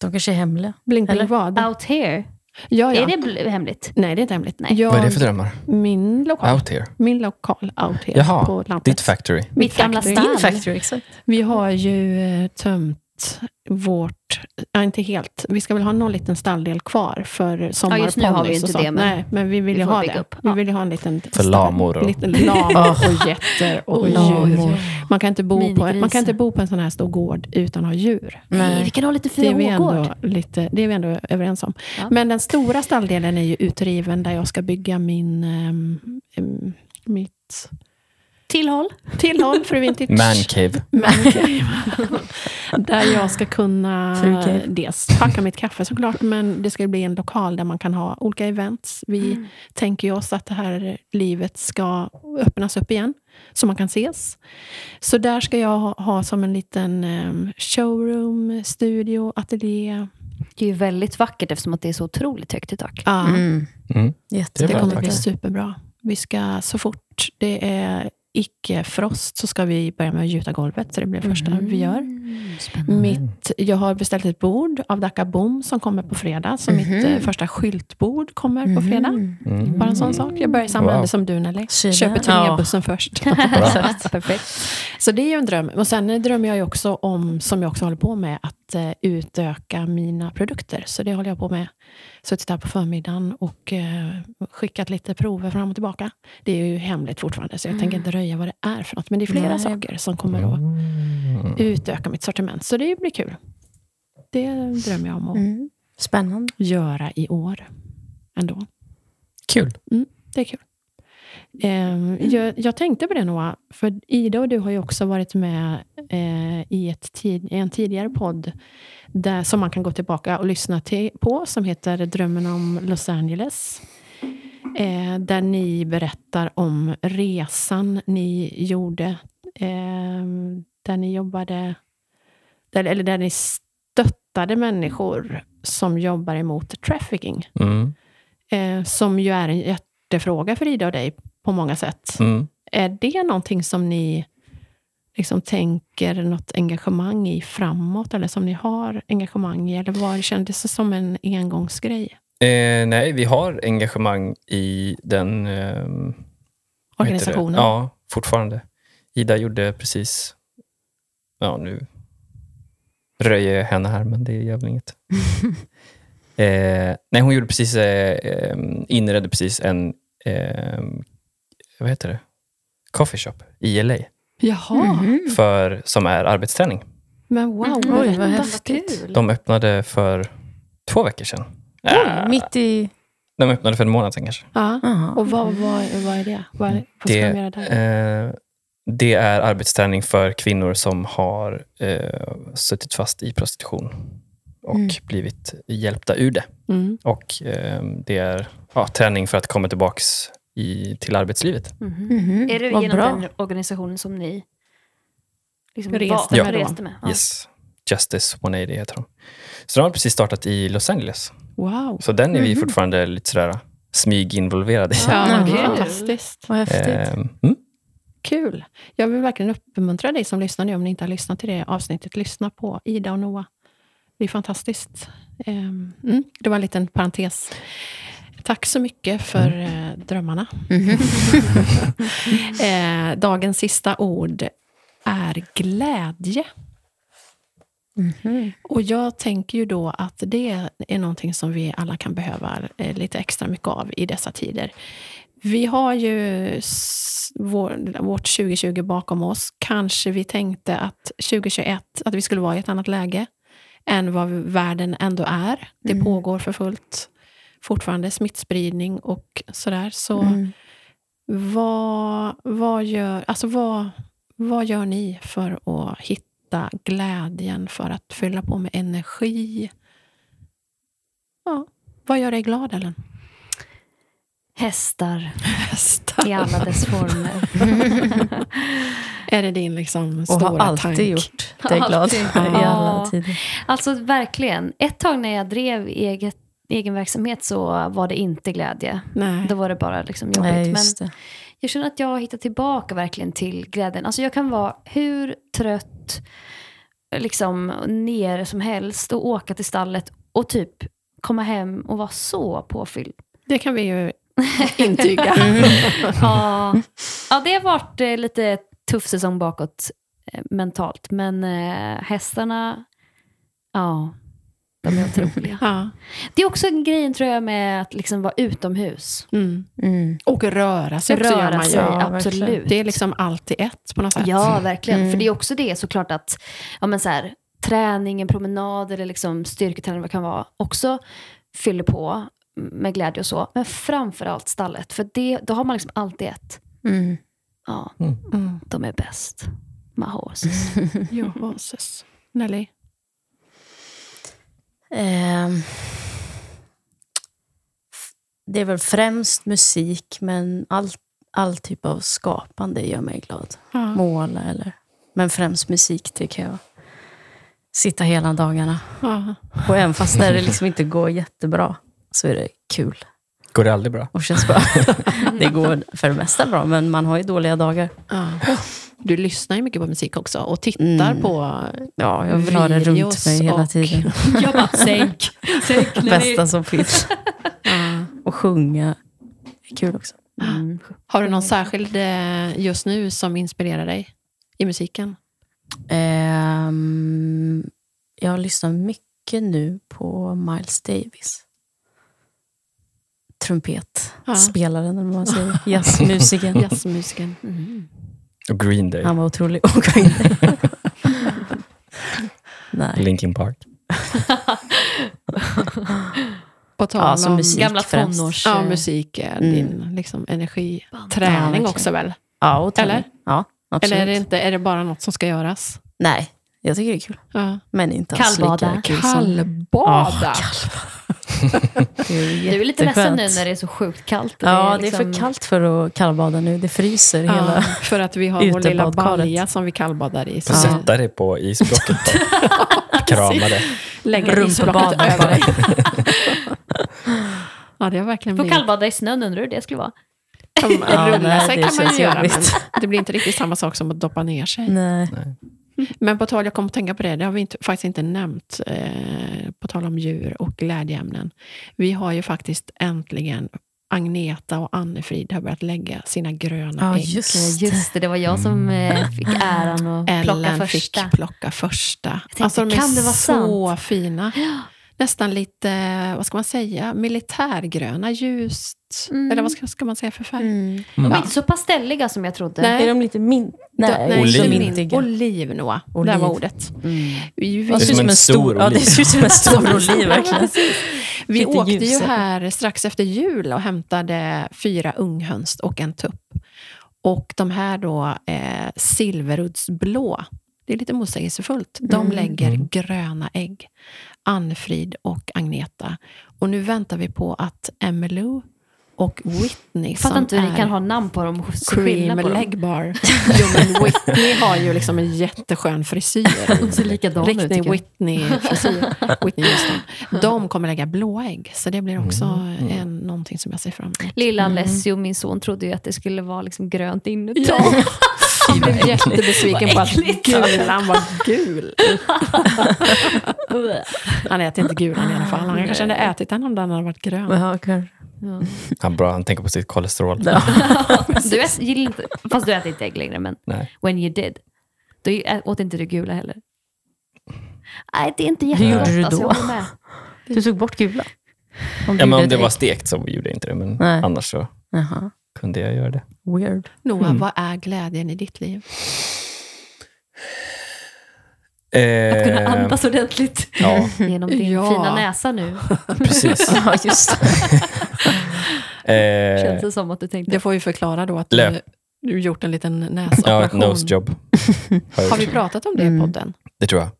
[SPEAKER 3] De kanske är hemliga.
[SPEAKER 2] blink,
[SPEAKER 3] Eller-
[SPEAKER 2] blink vad?
[SPEAKER 4] out here.
[SPEAKER 2] Ja, ja.
[SPEAKER 4] Är det bl- hemligt?
[SPEAKER 2] Nej, det är inte hemligt.
[SPEAKER 4] Nej.
[SPEAKER 2] Jag,
[SPEAKER 1] Vad är det för drömmar?
[SPEAKER 2] Min lokal,
[SPEAKER 1] Out here.
[SPEAKER 2] min lokal out here
[SPEAKER 1] Jaha,
[SPEAKER 2] på landet.
[SPEAKER 1] Ditt factory.
[SPEAKER 4] Mitt gamla
[SPEAKER 2] factory.
[SPEAKER 4] stall.
[SPEAKER 3] Din factory, exakt.
[SPEAKER 2] Vi har ju eh, tömt vårt, ja, inte helt, vi ska väl ha någon liten stalldel kvar för sommarponnys
[SPEAKER 4] just nu har vi
[SPEAKER 2] och
[SPEAKER 4] inte
[SPEAKER 2] sånt.
[SPEAKER 4] det, men
[SPEAKER 2] Nej, men vi vill
[SPEAKER 4] vi
[SPEAKER 2] ju
[SPEAKER 4] får
[SPEAKER 2] ha
[SPEAKER 4] bygga
[SPEAKER 2] det.
[SPEAKER 4] upp.
[SPEAKER 2] Vi
[SPEAKER 4] Ja.
[SPEAKER 2] vill ju ha en liten...
[SPEAKER 1] För lamor och-
[SPEAKER 2] Liten lam och getter och djur. Man kan, inte bo på en, man
[SPEAKER 4] Minigrisar.
[SPEAKER 2] kan inte bo på en sån här stor gård utan att ha djur.
[SPEAKER 4] Nej, vi kan ha lite
[SPEAKER 2] Det är, vi
[SPEAKER 4] 4H-gård.
[SPEAKER 2] ändå lite, det är vi ändå överens om.
[SPEAKER 4] Ja.
[SPEAKER 2] Men den stora stalldelen är ju utriven där jag ska bygga min, ehm, ehm, mitt
[SPEAKER 4] Tillhåll.
[SPEAKER 2] tillhåll för vintage.
[SPEAKER 1] Mancave.
[SPEAKER 2] Mancave. där jag ska kunna
[SPEAKER 3] Fru Cave.
[SPEAKER 2] dels packa mitt kaffe såklart, men det ska bli en lokal där man kan ha olika events. Vi tänker ju oss att det här livet ska öppnas upp igen, så man kan ses. Så där ska jag ha, ha som en liten em, showroom, studio, ateljé.
[SPEAKER 4] Det är ju väldigt vackert eftersom att det är så otroligt högt i tak.
[SPEAKER 2] Ja,
[SPEAKER 3] Mm.
[SPEAKER 1] Mm. Det är
[SPEAKER 2] Det
[SPEAKER 1] bra,
[SPEAKER 2] kommer
[SPEAKER 1] tack.
[SPEAKER 2] bli superbra. Vi ska så fort det är icke-frost så ska vi börja med att gjuta golvet, så det blir det första vi gör.
[SPEAKER 4] Mm, Spännande.
[SPEAKER 2] Mitt, jag har beställt ett bord av Daka Boom som kommer på fredag. Så mitt eh, första skyltbord kommer
[SPEAKER 3] Mhm.
[SPEAKER 2] på fredag.
[SPEAKER 1] Mm.
[SPEAKER 2] Bara en sån sak. Jag börjar i samma
[SPEAKER 1] Wow.
[SPEAKER 2] ände som du Nelly.
[SPEAKER 3] Kina.
[SPEAKER 2] Köper turnébussen först.
[SPEAKER 4] Perfekt.
[SPEAKER 2] så det är ju en dröm. Och sen eh, drömmer jag ju också om, som jag också håller på med, att eh, utöka mina produkter. Så det håller jag på med. Suttit här på förmiddagen och eh, skickat lite prover fram och tillbaka. Det är ju hemligt fortfarande, så jag tänker inte röja vad det är för något. Men det är flera
[SPEAKER 3] Nej.
[SPEAKER 2] saker som kommer att
[SPEAKER 1] Mm.
[SPEAKER 2] utöka mitt sortiment. Så det blir kul. Det drömmer jag om att
[SPEAKER 3] Mm. Spännande.
[SPEAKER 2] göra i år ändå.
[SPEAKER 1] Kul.
[SPEAKER 2] Det är kul. Ehm, jag, jag tänkte på det Noah, för Ida och du har ju också varit med eh, i, ett tid, i en tidigare podd där, som man kan gå tillbaka och lyssna till, på som heter Drömmen om Los Angeles. Eh, där ni berättar om resan ni gjorde ehm, där ni jobbade där, eller där ni stöttade människor som jobbar emot trafficking
[SPEAKER 1] Mm.
[SPEAKER 2] eh, som ju är en hjärtefråga för Ida och dig på många sätt.
[SPEAKER 1] Mm.
[SPEAKER 2] Är det någonting som ni liksom tänker något engagemang i framåt, eller som ni har engagemang i, eller var det kändes det som en engångsgrej?
[SPEAKER 1] Eh, nej, vi har engagemang i den ehm, vad heter det?
[SPEAKER 2] Organisationen?
[SPEAKER 1] Ja, fortfarande. Ida gjorde precis... Ja, nu röjer jag henne här, men det gör väl inget. eh, nej, hon gjorde precis, eh, ehm, inredde precis en... ehm, vad heter det? Coffee shop i LA,
[SPEAKER 2] Jaha,
[SPEAKER 3] Mm.
[SPEAKER 1] för, som är arbetsträning.
[SPEAKER 2] Mm-hmm. men wow,
[SPEAKER 3] Mm-hmm. Oj, vad
[SPEAKER 4] Mm.
[SPEAKER 2] berätta.
[SPEAKER 3] häftigt.
[SPEAKER 2] kul.
[SPEAKER 1] De öppnade för två veckor sedan. Eh,
[SPEAKER 3] Oj, mitt i...
[SPEAKER 1] De öppnade för en månad sedan kanske.
[SPEAKER 2] Ja.
[SPEAKER 3] Aha.
[SPEAKER 2] Och vad, vad, vad är det? Vad, vad ska
[SPEAKER 1] Det-
[SPEAKER 2] de göra där?
[SPEAKER 1] Eh, det är arbetsträning för kvinnor som har eh, suttit fast i prostitution och
[SPEAKER 3] Mm.
[SPEAKER 1] blivit hjälpta ur det.
[SPEAKER 2] Mm.
[SPEAKER 1] Och eh, det är ja, träning för att komma tillbaka i, till arbetslivet.
[SPEAKER 4] Mhm.
[SPEAKER 3] Mhm.
[SPEAKER 4] Är det
[SPEAKER 3] Vad
[SPEAKER 4] genom
[SPEAKER 3] bra.
[SPEAKER 4] den organisationen som ni liksom
[SPEAKER 2] Reste
[SPEAKER 4] var-
[SPEAKER 2] med då?
[SPEAKER 4] reste med? Ja.
[SPEAKER 1] Yes. Justice 180 heter de. Så de har precis startat i Los Angeles.
[SPEAKER 2] Wow.
[SPEAKER 1] Så den är vi
[SPEAKER 3] Mhm.
[SPEAKER 1] fortfarande lite sådär smyginvolverade i.
[SPEAKER 2] Ja,
[SPEAKER 4] Ja,
[SPEAKER 2] men
[SPEAKER 3] kul.
[SPEAKER 2] fantastiskt.
[SPEAKER 1] Ehm.
[SPEAKER 3] Vad häftigt.
[SPEAKER 1] Eh, mm.
[SPEAKER 2] Kul! Jag vill verkligen uppmuntra dig som lyssnar nu, om ni inte har lyssnat till det avsnittet, lyssna på Ida och Noah. Det är fantastiskt. Ehm, Mm, det var en liten parentes. Tack så mycket för eh, drömmarna. Eh, dagens sista ord är glädje. Och jag tänker ju då att det är någonting som vi alla kan behöva eh, lite extra mycket av i dessa tider. Vi har ju s- vår, vårt 2020 bakom oss. Kanske vi tänkte att 2021, att vi skulle vara i ett annat läge än vad världen ändå är. Det pågår för fullt fortfarande smittspridning och sådär. Så
[SPEAKER 3] Mm.
[SPEAKER 4] Mm.
[SPEAKER 2] vad, vad, gör, alltså vad, vad gör ni för att hitta glädjen, för att fylla på med energi? Ja, vad gör dig glad, Ellen?
[SPEAKER 4] Hästar i
[SPEAKER 2] Hästar.
[SPEAKER 4] alla dess former.
[SPEAKER 2] Är det din liksom
[SPEAKER 3] Och
[SPEAKER 2] stora
[SPEAKER 3] har alltid
[SPEAKER 2] tank?
[SPEAKER 3] gjort dig glad
[SPEAKER 4] Alltid.
[SPEAKER 3] i alla
[SPEAKER 4] Ja.
[SPEAKER 3] tider.
[SPEAKER 4] Alltså verkligen. Ett tag när jag drev eget, egen verksamhet så var det inte glädje.
[SPEAKER 2] Nej.
[SPEAKER 4] Då var det bara liksom jobbigt.
[SPEAKER 3] Nej,
[SPEAKER 4] men
[SPEAKER 3] just det.
[SPEAKER 4] jag känner att jag har hittat tillbaka verkligen till glädjen. Alltså jag kan vara hur trött liksom ner som helst och åka till stallet och typ komma hem och vara så påfylld.
[SPEAKER 2] Det kan vi ju intyga.
[SPEAKER 4] Ja, ja det har varit eh, lite tuff säsong bakåt eh, mentalt. Men eh, hästarna, ja, de är otroliga.
[SPEAKER 2] Ja.
[SPEAKER 4] Det är också grejen tror jag med att liksom vara utomhus.
[SPEAKER 2] Mm.
[SPEAKER 3] Mm.
[SPEAKER 2] Och röra sig också gör
[SPEAKER 4] Röra
[SPEAKER 2] man
[SPEAKER 4] sig,
[SPEAKER 2] ju.
[SPEAKER 3] Ja,
[SPEAKER 4] absolut.
[SPEAKER 3] verkligen.
[SPEAKER 2] Det är liksom allt i ett på något sätt.
[SPEAKER 4] Ja, verkligen.
[SPEAKER 3] Mm.
[SPEAKER 4] För det är också det såklart att ja, men så här, träning, en promenad eller liksom styrketräning vad det kan vara också fyller på med glädje och så. Men framförallt stallet, för det, då har man liksom alltid ett.
[SPEAKER 3] Mm.
[SPEAKER 4] Ja,
[SPEAKER 2] Mm.
[SPEAKER 4] de är bäst. My horses.
[SPEAKER 2] Your horses. Nelly?
[SPEAKER 3] Ehm, f- det är väl främst musik, men all, all typ av skapande gör mig glad.
[SPEAKER 2] Ja.
[SPEAKER 3] Måla eller... Men främst musik tycker jag. Sitta hela dagarna.
[SPEAKER 2] Ja.
[SPEAKER 3] Och även fast när det liksom inte går jättebra så är det kul
[SPEAKER 1] Går det aldrig bra?
[SPEAKER 3] och känns bra. det går för det mesta bra, men man har ju dåliga dagar.
[SPEAKER 2] Ja. Du lyssnar ju mycket på musik också och tittar
[SPEAKER 3] Mm.
[SPEAKER 2] på...
[SPEAKER 3] Ja, jag vill ha det runt
[SPEAKER 2] Videos
[SPEAKER 3] mig hela
[SPEAKER 2] och-
[SPEAKER 3] tiden.
[SPEAKER 2] Jag bara, sänk! sänk
[SPEAKER 3] Bästa som finns.
[SPEAKER 2] Ja.
[SPEAKER 3] Och sjunga är kul också.
[SPEAKER 4] Mm.
[SPEAKER 2] Har du någon särskild eh, just nu som inspirerar dig i musiken?
[SPEAKER 3] Ehm, jag lyssnar mycket nu på Miles Davis.
[SPEAKER 2] Ja.
[SPEAKER 3] Trumpetspelaren, eller vad man säger. Jazzmusikern.
[SPEAKER 2] Jazzmusiken.
[SPEAKER 4] Mm.
[SPEAKER 1] Och Green Day,
[SPEAKER 3] Han var otrolig. Och Green Day. Nej.
[SPEAKER 1] Linkin Park.
[SPEAKER 2] På tal
[SPEAKER 3] Ja, som
[SPEAKER 2] om...
[SPEAKER 3] musik.
[SPEAKER 4] Gamla
[SPEAKER 3] främst.
[SPEAKER 4] tonårs...
[SPEAKER 2] Ja,
[SPEAKER 4] eh,
[SPEAKER 2] musik är
[SPEAKER 3] Mm.
[SPEAKER 2] din liksom, energiträning
[SPEAKER 3] Ja, verkligen.
[SPEAKER 2] också väl?
[SPEAKER 3] Ja, och träning.
[SPEAKER 2] Eller?
[SPEAKER 3] Ja, absolut.
[SPEAKER 2] Eller är det, inte, är det bara något som ska göras?
[SPEAKER 3] Nej, jag tycker det är kul.
[SPEAKER 2] Ja.
[SPEAKER 3] Men inte alls lika
[SPEAKER 4] Kallbada.
[SPEAKER 3] kul som...
[SPEAKER 2] Kallbada!
[SPEAKER 3] Det är
[SPEAKER 4] Du är lite ledsen
[SPEAKER 3] jätteskönt.
[SPEAKER 4] nu när det är så sjukt kallt. och
[SPEAKER 3] Ja, det är
[SPEAKER 4] liksom-
[SPEAKER 3] för kallt för att kallbada nu. Det fryser
[SPEAKER 2] Ja,
[SPEAKER 3] hela...
[SPEAKER 2] för att vi har vår lilla
[SPEAKER 3] Utebadkaret.
[SPEAKER 2] balja som vi kallbadar i.
[SPEAKER 1] Får
[SPEAKER 2] Så
[SPEAKER 3] Ja.
[SPEAKER 1] sätta dig på isblocket och krama det.
[SPEAKER 2] lägger
[SPEAKER 3] Rumpbad.
[SPEAKER 2] isblocket över dig. ja, det har verkligen
[SPEAKER 4] Får
[SPEAKER 2] blivit...
[SPEAKER 4] kallbada i snön, undrar hur det skulle vara.
[SPEAKER 2] Kan man,
[SPEAKER 3] Ja,
[SPEAKER 2] rulla
[SPEAKER 3] nej,
[SPEAKER 2] sig
[SPEAKER 3] det
[SPEAKER 2] kan man
[SPEAKER 3] känns
[SPEAKER 2] ju göra, men
[SPEAKER 3] jobbigt.
[SPEAKER 2] det blir inte riktigt samma sak som att doppa ner sig.
[SPEAKER 3] Nej.
[SPEAKER 2] Men på tal, jag kom att tänka på det, det har vi inte, faktiskt inte nämnt, eh, på tal om djur och glädjeämnen. Vi har ju faktiskt äntligen Agneta och Annefrid har börjat lägga sina gröna
[SPEAKER 3] Ja,
[SPEAKER 2] ägg.
[SPEAKER 3] just
[SPEAKER 4] Ja, just det, det var jag som eh, fick äran att plocka
[SPEAKER 2] Ellen Mm. fick
[SPEAKER 4] första.
[SPEAKER 2] plocka första.
[SPEAKER 4] tänkte,
[SPEAKER 2] alltså de är
[SPEAKER 4] kan det vara
[SPEAKER 2] så fina. Nästan lite, vad ska man säga, militärgröna, ljust.
[SPEAKER 4] Mm.
[SPEAKER 2] Eller vad ska, ska man säga för färg?
[SPEAKER 3] Mm.
[SPEAKER 4] De är
[SPEAKER 2] Ja.
[SPEAKER 4] inte så pastelliga som jag trodde.
[SPEAKER 2] Nej.
[SPEAKER 3] Är de lite mint? Nej,
[SPEAKER 2] Nej,
[SPEAKER 1] Oliv.
[SPEAKER 3] inte
[SPEAKER 2] oliv.
[SPEAKER 3] mintiga.
[SPEAKER 2] Oliv, Noah.
[SPEAKER 3] Oliv.
[SPEAKER 2] Det var ordet.
[SPEAKER 3] Mm.
[SPEAKER 2] Vi,
[SPEAKER 3] Ja,
[SPEAKER 1] Det är
[SPEAKER 2] vi,
[SPEAKER 1] som en stor
[SPEAKER 3] Ja, det
[SPEAKER 1] oliv.
[SPEAKER 3] ser ut som en stor oliv verkligen.
[SPEAKER 2] vi
[SPEAKER 3] lite
[SPEAKER 2] åkte ju
[SPEAKER 3] ljusare.
[SPEAKER 2] här strax efter jul och hämtade fyra unghöns och en tupp. Och de här då, eh, silveruddsblå, det är lite motsägelsefullt, de
[SPEAKER 3] Mm.
[SPEAKER 2] lägger
[SPEAKER 1] Mm.
[SPEAKER 2] gröna ägg. Annfrid och Agneta. Och nu väntar vi på att Emmylou och Whitney
[SPEAKER 4] Fattar
[SPEAKER 2] som
[SPEAKER 4] inte hur
[SPEAKER 2] är
[SPEAKER 4] ni kan ha namn på dem och se
[SPEAKER 2] cream
[SPEAKER 4] skillnad på dem.
[SPEAKER 2] leg bar. Jo, men Whitney har ju liksom en jätteskön frisyr.
[SPEAKER 4] De ser likadana ut
[SPEAKER 2] Riktning
[SPEAKER 4] tycker jag.
[SPEAKER 2] Whitney-frisyr. Whitney Houston. De kommer lägga blåa ägg, så det blir också
[SPEAKER 1] Mm.
[SPEAKER 2] en, någonting som jag ser fram emot.
[SPEAKER 4] Lilla Alessio, min son, trodde ju att det skulle vara liksom grönt inuti.
[SPEAKER 2] Jag blev jättebesviken på att
[SPEAKER 4] äckligt.
[SPEAKER 2] gulan var gul. Han äter inte gulan i alla fall. Han kanske hade ätit den om den hade varit grön.
[SPEAKER 1] Mm.
[SPEAKER 3] Ja, kanske.
[SPEAKER 1] Han, bra, han tänker på sitt kolesterol.
[SPEAKER 4] Du äter, gillar inte, fast du äter inte ägg längre, men
[SPEAKER 1] Nej.
[SPEAKER 4] when you did. Då ä- åt inte du gula heller. Nej, det är inte
[SPEAKER 3] Hur
[SPEAKER 4] jättegott.
[SPEAKER 3] gjorde du
[SPEAKER 4] Alltså,
[SPEAKER 3] då?
[SPEAKER 4] jag håller med.
[SPEAKER 3] Du tog bort gula? Om du
[SPEAKER 1] Ja, men
[SPEAKER 3] gjorde
[SPEAKER 1] om det
[SPEAKER 3] ett
[SPEAKER 1] var
[SPEAKER 3] ägg.
[SPEAKER 1] stekt så gjorde jag inte det, men
[SPEAKER 3] Nej.
[SPEAKER 1] annars så
[SPEAKER 3] Jaha,
[SPEAKER 1] kunde jag göra det.
[SPEAKER 3] weird.
[SPEAKER 2] Noah,
[SPEAKER 1] Mm.
[SPEAKER 2] vad är glädjen i ditt liv?
[SPEAKER 4] Att kunna
[SPEAKER 1] Eh,
[SPEAKER 4] andas ordentligt
[SPEAKER 1] Ja,
[SPEAKER 4] genom din
[SPEAKER 2] Ja.
[SPEAKER 4] fina näsa nu.
[SPEAKER 3] Eh.
[SPEAKER 1] precis.
[SPEAKER 3] Ja, just
[SPEAKER 4] Känns
[SPEAKER 1] Eh,
[SPEAKER 4] det som att du tänkte.
[SPEAKER 2] Det får vi förklara då att du,
[SPEAKER 1] Löp.
[SPEAKER 2] du gjort en liten
[SPEAKER 1] ja, ett
[SPEAKER 2] näsoperation.
[SPEAKER 1] nosejob. jag
[SPEAKER 2] Har vi
[SPEAKER 1] gjort.
[SPEAKER 2] pratat om det i
[SPEAKER 3] Mm.
[SPEAKER 2] podden?
[SPEAKER 1] Det tror jag.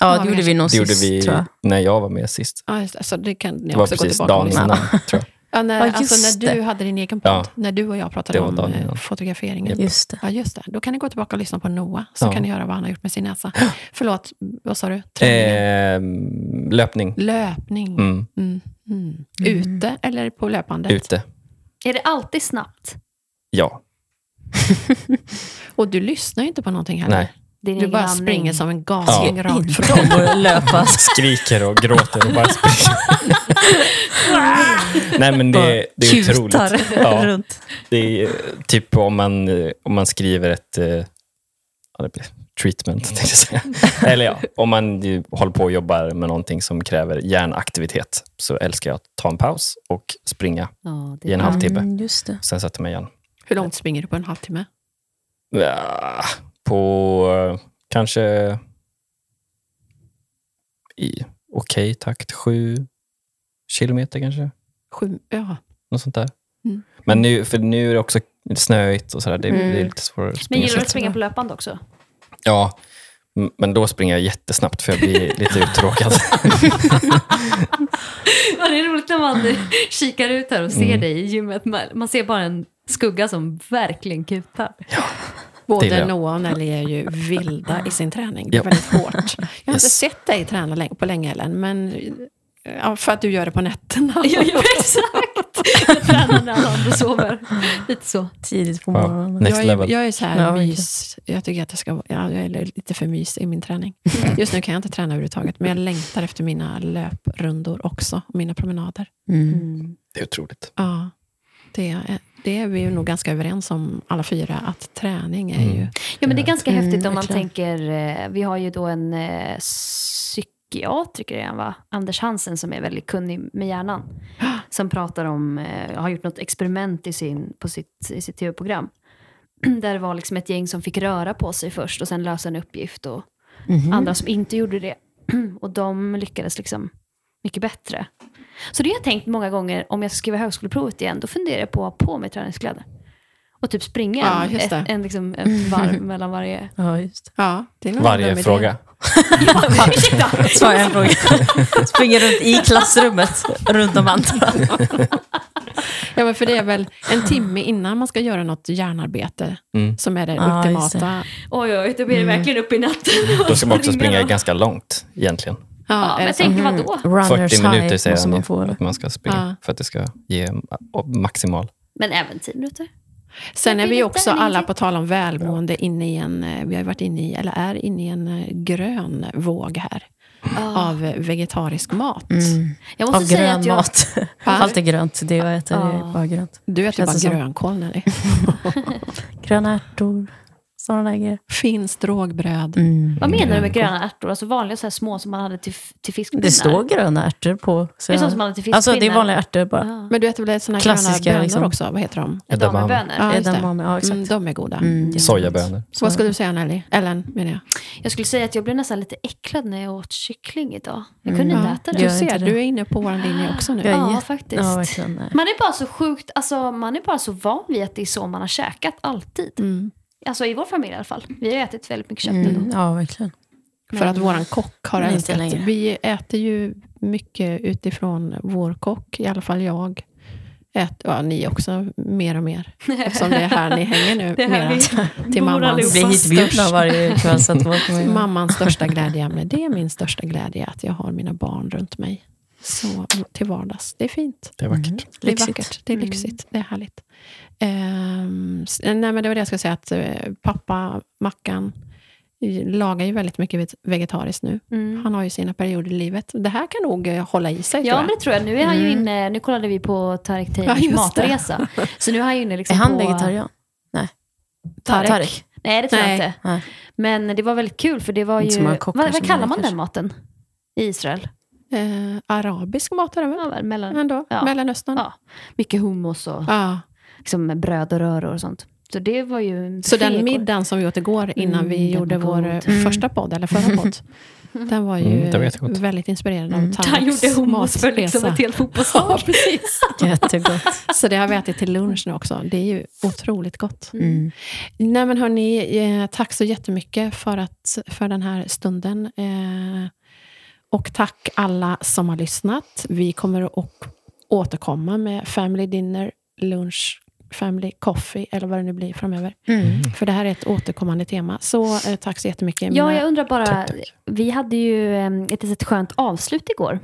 [SPEAKER 3] Ja,
[SPEAKER 2] Ja,
[SPEAKER 3] det gjorde vi nog
[SPEAKER 1] Det gjorde
[SPEAKER 3] sist,
[SPEAKER 1] vi
[SPEAKER 3] tror jag.
[SPEAKER 1] när jag var med sist.
[SPEAKER 2] Ja, just det. alltså, det kan ni
[SPEAKER 1] Det var
[SPEAKER 2] också gå
[SPEAKER 1] precis
[SPEAKER 2] tillbaka och
[SPEAKER 1] dagen
[SPEAKER 2] lyssna.
[SPEAKER 1] innan, tror jag.
[SPEAKER 2] Ja, när,
[SPEAKER 3] Ja,
[SPEAKER 2] alltså,
[SPEAKER 3] just
[SPEAKER 2] när du
[SPEAKER 3] det.
[SPEAKER 2] hade din egen podd,
[SPEAKER 1] Ja.
[SPEAKER 2] när du och jag pratade
[SPEAKER 1] Det var
[SPEAKER 2] om
[SPEAKER 1] dagen
[SPEAKER 2] eh,
[SPEAKER 1] innan.
[SPEAKER 2] fotograferingen.
[SPEAKER 3] Just det.
[SPEAKER 2] Ja, just det. Då kan ni gå tillbaka och lyssna på Noah, så
[SPEAKER 1] Ja.
[SPEAKER 2] kan ni höra vad han har gjort med sin näsa. Förlåt, vad sa du? Träningen?
[SPEAKER 1] Eh, löpning.
[SPEAKER 2] Löpning.
[SPEAKER 1] Mm,
[SPEAKER 2] Mm. Mm. Ute eller på löpandet?
[SPEAKER 1] ute.
[SPEAKER 4] Är det alltid snabbt?
[SPEAKER 1] Ja.
[SPEAKER 2] Och du lyssnar ju inte på någonting heller.
[SPEAKER 1] Nej.
[SPEAKER 4] Din
[SPEAKER 2] Du
[SPEAKER 4] egen
[SPEAKER 2] bara
[SPEAKER 4] andning.
[SPEAKER 2] springer som en galning
[SPEAKER 1] Ja.
[SPEAKER 2] rakt fram.
[SPEAKER 3] De borde löpa.
[SPEAKER 1] Skriker och gråter och bara springer. Nej, men det, det är otroligt.
[SPEAKER 3] Kutar
[SPEAKER 1] Ja,
[SPEAKER 3] runt.
[SPEAKER 1] det är eh, typ om man, eh, om man skriver ett eh, ja, det blir treatment, tänkte jag säga. Eller ja, om man ju håller på och jobbar med någonting som kräver hjärnaktivitet så älskar jag att ta en paus och springa.
[SPEAKER 4] Ja, det
[SPEAKER 1] I en
[SPEAKER 4] är
[SPEAKER 1] halvtimme.
[SPEAKER 3] Mm, just det.
[SPEAKER 1] Sen sätter jag mig igen.
[SPEAKER 2] Hur långt springer du på en halvtimme?
[SPEAKER 1] Ja, på eh, kanske i okej takt, sju kilometer kanske.
[SPEAKER 2] Sju, ja.
[SPEAKER 1] Något sånt där.
[SPEAKER 2] Mm.
[SPEAKER 1] Men nu, för nu är det också lite snöigt och sådär. Det,
[SPEAKER 3] Mm.
[SPEAKER 1] det är lite svårare att
[SPEAKER 4] Men
[SPEAKER 1] springa.
[SPEAKER 4] gillar du
[SPEAKER 1] snabbt.
[SPEAKER 4] att springa på löpande också?
[SPEAKER 1] Ja, m- men då springer jag jättesnabbt för jag blir lite uttråkad.
[SPEAKER 4] Ja, det är roligt när man kikar ut här och ser
[SPEAKER 1] Mm.
[SPEAKER 4] dig i gymmet. Man man ser bara en skugga som verkligen kutar.
[SPEAKER 1] gillar
[SPEAKER 2] Både
[SPEAKER 1] jag.
[SPEAKER 2] Noah och Nelly är ju vilda i sin träning. Det är
[SPEAKER 1] Ja.
[SPEAKER 2] väldigt hårt. Jag har inte
[SPEAKER 1] Yes.
[SPEAKER 2] sett dig träna länge- på länge, Ellen, men ja, för att du gör det på nätterna.
[SPEAKER 4] Ja, ja, exakt. Jag tränar när alla andra sover. Lite så.
[SPEAKER 3] Tidigt på
[SPEAKER 1] Ja.
[SPEAKER 3] morgonen.
[SPEAKER 1] Next
[SPEAKER 2] Jag är,
[SPEAKER 1] level.
[SPEAKER 2] jag är så här
[SPEAKER 3] Ja, verkligen.
[SPEAKER 2] mys. Jag tycker att jag ska vara- ja, jag är lite för mys i min träning. Just nu kan jag inte träna överhuvudtaget, men jag längtar efter mina löprundor också, och mina promenader.
[SPEAKER 3] Mm.
[SPEAKER 1] Det är otroligt.
[SPEAKER 2] Ja, det, är- det är vi ju nog ganska överens om, alla fyra, att träning är
[SPEAKER 1] Mm.
[SPEAKER 2] ju...
[SPEAKER 4] Ja, men det är ganska
[SPEAKER 3] Mm,
[SPEAKER 4] häftigt om man
[SPEAKER 3] verkligen.
[SPEAKER 4] tänker, eh, vi har ju då en eh, psykiatriker igen, va? Anders Hansen som är väldigt kunnig med hjärnan. Som pratar om, eh, har gjort något experiment i, sin, på sitt, i sitt tv-program. Där det var liksom ett gäng som fick röra på sig först och sen lösa en uppgift. Och
[SPEAKER 3] Mhm.
[SPEAKER 4] andra som inte gjorde det. Och de lyckades liksom mycket bättre. Så det har jag tänkt många gånger, om jag ska skriva högskoleprovet igen, då funderar jag på att ha på mig träningskläder. Och typ springa
[SPEAKER 2] Ja,
[SPEAKER 4] en,
[SPEAKER 2] just
[SPEAKER 4] ett,
[SPEAKER 2] det.
[SPEAKER 4] en liksom, ett varv mellan varje
[SPEAKER 3] Ja, just det.
[SPEAKER 2] Ja, det är nog en
[SPEAKER 1] Varje
[SPEAKER 2] dum idé.
[SPEAKER 1] fråga.
[SPEAKER 4] Ursäkta!
[SPEAKER 3] Svara en fråga. Springer runt i klassrummet, runt de andra.
[SPEAKER 2] Ja, men för det är väl en timme innan man ska göra något hjärnarbete
[SPEAKER 1] Mm.
[SPEAKER 2] som är det
[SPEAKER 3] Ja, just
[SPEAKER 2] ultimata.
[SPEAKER 4] Oj, oj, då blir
[SPEAKER 3] Mm.
[SPEAKER 4] det verkligen upp i natten.
[SPEAKER 1] Då ska man också springa ganska långt egentligen.
[SPEAKER 2] är
[SPEAKER 4] Ja, men
[SPEAKER 2] det så?
[SPEAKER 4] tänk
[SPEAKER 3] Mm.
[SPEAKER 4] vadå?
[SPEAKER 1] 40 minuter säger
[SPEAKER 3] måste
[SPEAKER 1] han
[SPEAKER 3] man
[SPEAKER 1] ju
[SPEAKER 3] få. det.
[SPEAKER 1] att man ska springa
[SPEAKER 2] Ja.
[SPEAKER 1] för att det ska ge ma- maximal.
[SPEAKER 4] Men även 10 minuter.
[SPEAKER 2] Sen är vi ju också
[SPEAKER 4] Eller
[SPEAKER 2] alla,
[SPEAKER 4] inget.
[SPEAKER 2] på tal om välmående, inne i en, eh, vi har ju varit inne i, eller är inne i en eh, grön våg här
[SPEAKER 4] Ja.
[SPEAKER 2] av eh, vegetarisk mat.
[SPEAKER 3] Mm.
[SPEAKER 4] Jag måste
[SPEAKER 3] Av
[SPEAKER 4] säga
[SPEAKER 3] grön
[SPEAKER 4] att jag...
[SPEAKER 3] mat.
[SPEAKER 2] Va?
[SPEAKER 3] Allt är grönt. Det jag äter
[SPEAKER 4] Ja.
[SPEAKER 3] är bara grönt.
[SPEAKER 2] Du äter ju
[SPEAKER 3] Känns
[SPEAKER 2] bara
[SPEAKER 3] det som.
[SPEAKER 2] grönkål, Nelly.
[SPEAKER 3] Gröna ärtor, sådana där grejer.
[SPEAKER 2] Finst rågbröd.
[SPEAKER 3] Mm.
[SPEAKER 4] Vad menar du med gröna ärtor? Alltså vanliga så här små som man hade till, till fiskpinnar?
[SPEAKER 3] Det står gröna ärtor på. Så
[SPEAKER 4] Är det
[SPEAKER 3] jag-
[SPEAKER 4] sånt som man hade till fiskpinnar?
[SPEAKER 3] Alltså det är vanliga ärtor bara.
[SPEAKER 4] Ja.
[SPEAKER 2] Men du äter väl såna gröna
[SPEAKER 3] Klassiska,
[SPEAKER 2] bönor
[SPEAKER 3] liksom.
[SPEAKER 2] också? Vad heter de?
[SPEAKER 1] Edamame.
[SPEAKER 4] Edamebönor.
[SPEAKER 2] Ja, just det.
[SPEAKER 3] Edamame, ja, exakt.
[SPEAKER 2] Mm, de är goda.
[SPEAKER 3] Mm,
[SPEAKER 1] Sojabönor.
[SPEAKER 2] Så vad ska du säga, Nelly? Ellen, menar jag.
[SPEAKER 4] Jag skulle säga att jag blev nästan lite äcklad när jag åt kyckling idag. Jag kunde
[SPEAKER 3] Mm.
[SPEAKER 4] inte
[SPEAKER 2] Ja,
[SPEAKER 4] äta
[SPEAKER 2] Du
[SPEAKER 4] det.
[SPEAKER 3] Gör inte
[SPEAKER 2] ser,
[SPEAKER 3] det.
[SPEAKER 2] du är inne på vår linje också nu.
[SPEAKER 3] Jag är
[SPEAKER 4] Ja,
[SPEAKER 3] jätte-
[SPEAKER 4] faktiskt.
[SPEAKER 3] Ja, verkligen. nej.
[SPEAKER 4] Man är bara så sjukt, alltså man är bara så van vid att det är så man har käkat alltid.
[SPEAKER 2] Mm.
[SPEAKER 4] Alltså i vår familj i alla fall. Vi har ätit väldigt mycket kött ändå.
[SPEAKER 3] Mm, ja, verkligen.
[SPEAKER 2] För att våran kock har
[SPEAKER 3] Inte
[SPEAKER 2] älskat.
[SPEAKER 3] längre.
[SPEAKER 2] Vi äter ju mycket utifrån vår kock, i alla fall jag. Ett, ja, ni också, mer och mer. Eftersom det är här ni hänger nu. mera. till
[SPEAKER 3] Vi
[SPEAKER 2] mammans,
[SPEAKER 3] blir hitbjudna varje kväll. Så att man kommer ihåg.
[SPEAKER 2] mammans största glädjeämne. Det är min största glädje, att jag har mina barn runt mig. Så till vardags. Det är fint.
[SPEAKER 1] Det är vackert.
[SPEAKER 2] Det är
[SPEAKER 3] Lyxigt.
[SPEAKER 2] vackert. Det är
[SPEAKER 4] Mm.
[SPEAKER 2] lyxigt. Det är härligt. Ehm, s- nej, men det var det jag skulle säga, att eh, pappa, Mackan, eh, lagar ju väldigt mycket vet- vegetariskt nu.
[SPEAKER 4] Mm.
[SPEAKER 2] Han har ju sina perioder i livet. Det här kan nog eh, hålla i sig.
[SPEAKER 4] Ja,
[SPEAKER 2] tror
[SPEAKER 4] men
[SPEAKER 2] jag.
[SPEAKER 4] det tror jag. Nu är han ju
[SPEAKER 2] Mm.
[SPEAKER 4] inne, nu kollade vi på Tarek
[SPEAKER 2] Ja,
[SPEAKER 4] Taylors
[SPEAKER 2] just det.
[SPEAKER 4] matresa. Så nu är han ju inne
[SPEAKER 3] Är
[SPEAKER 4] liksom
[SPEAKER 3] han
[SPEAKER 4] på...
[SPEAKER 3] vegetarian?
[SPEAKER 4] Tarek.
[SPEAKER 3] Tarek.
[SPEAKER 4] Nej, det tror jag
[SPEAKER 2] Nej.
[SPEAKER 4] inte.
[SPEAKER 3] Nej.
[SPEAKER 4] Men det var väldigt kul för det var
[SPEAKER 3] Inte
[SPEAKER 4] ju...
[SPEAKER 3] så många kockar
[SPEAKER 4] Vad,
[SPEAKER 3] som
[SPEAKER 4] vad kallar
[SPEAKER 3] är,
[SPEAKER 4] man
[SPEAKER 3] kanske.
[SPEAKER 4] den maten i Israel?
[SPEAKER 2] Eh, arabisk mat är det väl?
[SPEAKER 4] Ja, väl, mellan,
[SPEAKER 2] Ändå.
[SPEAKER 4] Ja.
[SPEAKER 2] Mellanöstern.
[SPEAKER 4] Ja. mycket hummus och
[SPEAKER 2] Ja.
[SPEAKER 4] liksom, bröd och röror och sånt. Så det var ju... en
[SPEAKER 2] Så den
[SPEAKER 4] feg-
[SPEAKER 2] middagen som vi åt igår innan
[SPEAKER 4] Mm,
[SPEAKER 2] vi
[SPEAKER 4] den
[SPEAKER 2] gjorde
[SPEAKER 4] var
[SPEAKER 2] vår
[SPEAKER 4] god.
[SPEAKER 2] eh,
[SPEAKER 3] Mm.
[SPEAKER 2] första podd, eller förra podd, den var ju
[SPEAKER 1] Mm, det var jättegott.
[SPEAKER 2] väldigt inspirerad av
[SPEAKER 3] Mm.
[SPEAKER 2] Tareks
[SPEAKER 4] Han gjorde hummus för liksom
[SPEAKER 2] matresa.
[SPEAKER 4] ett helt
[SPEAKER 2] Ja,
[SPEAKER 4] fotbollslag.
[SPEAKER 2] precis.
[SPEAKER 3] Jättegott.
[SPEAKER 2] Så det har vi ätit till lunch nu också. Det är ju otroligt gott.
[SPEAKER 3] Mm.
[SPEAKER 2] Nej men hörni, eh, tack så jättemycket för, att, för den här stunden. Eh, och tack alla som har lyssnat. Vi kommer att återkomma med family dinner, lunch, family coffee eller vad det nu blir framöver. För det här är ett återkommande tema. Så eh, tack så jättemycket.
[SPEAKER 4] Ja,
[SPEAKER 2] Mina-
[SPEAKER 4] jag undrar bara,
[SPEAKER 1] Tack, tack.
[SPEAKER 4] vi hade ju em, ett litet skönt avslut igår.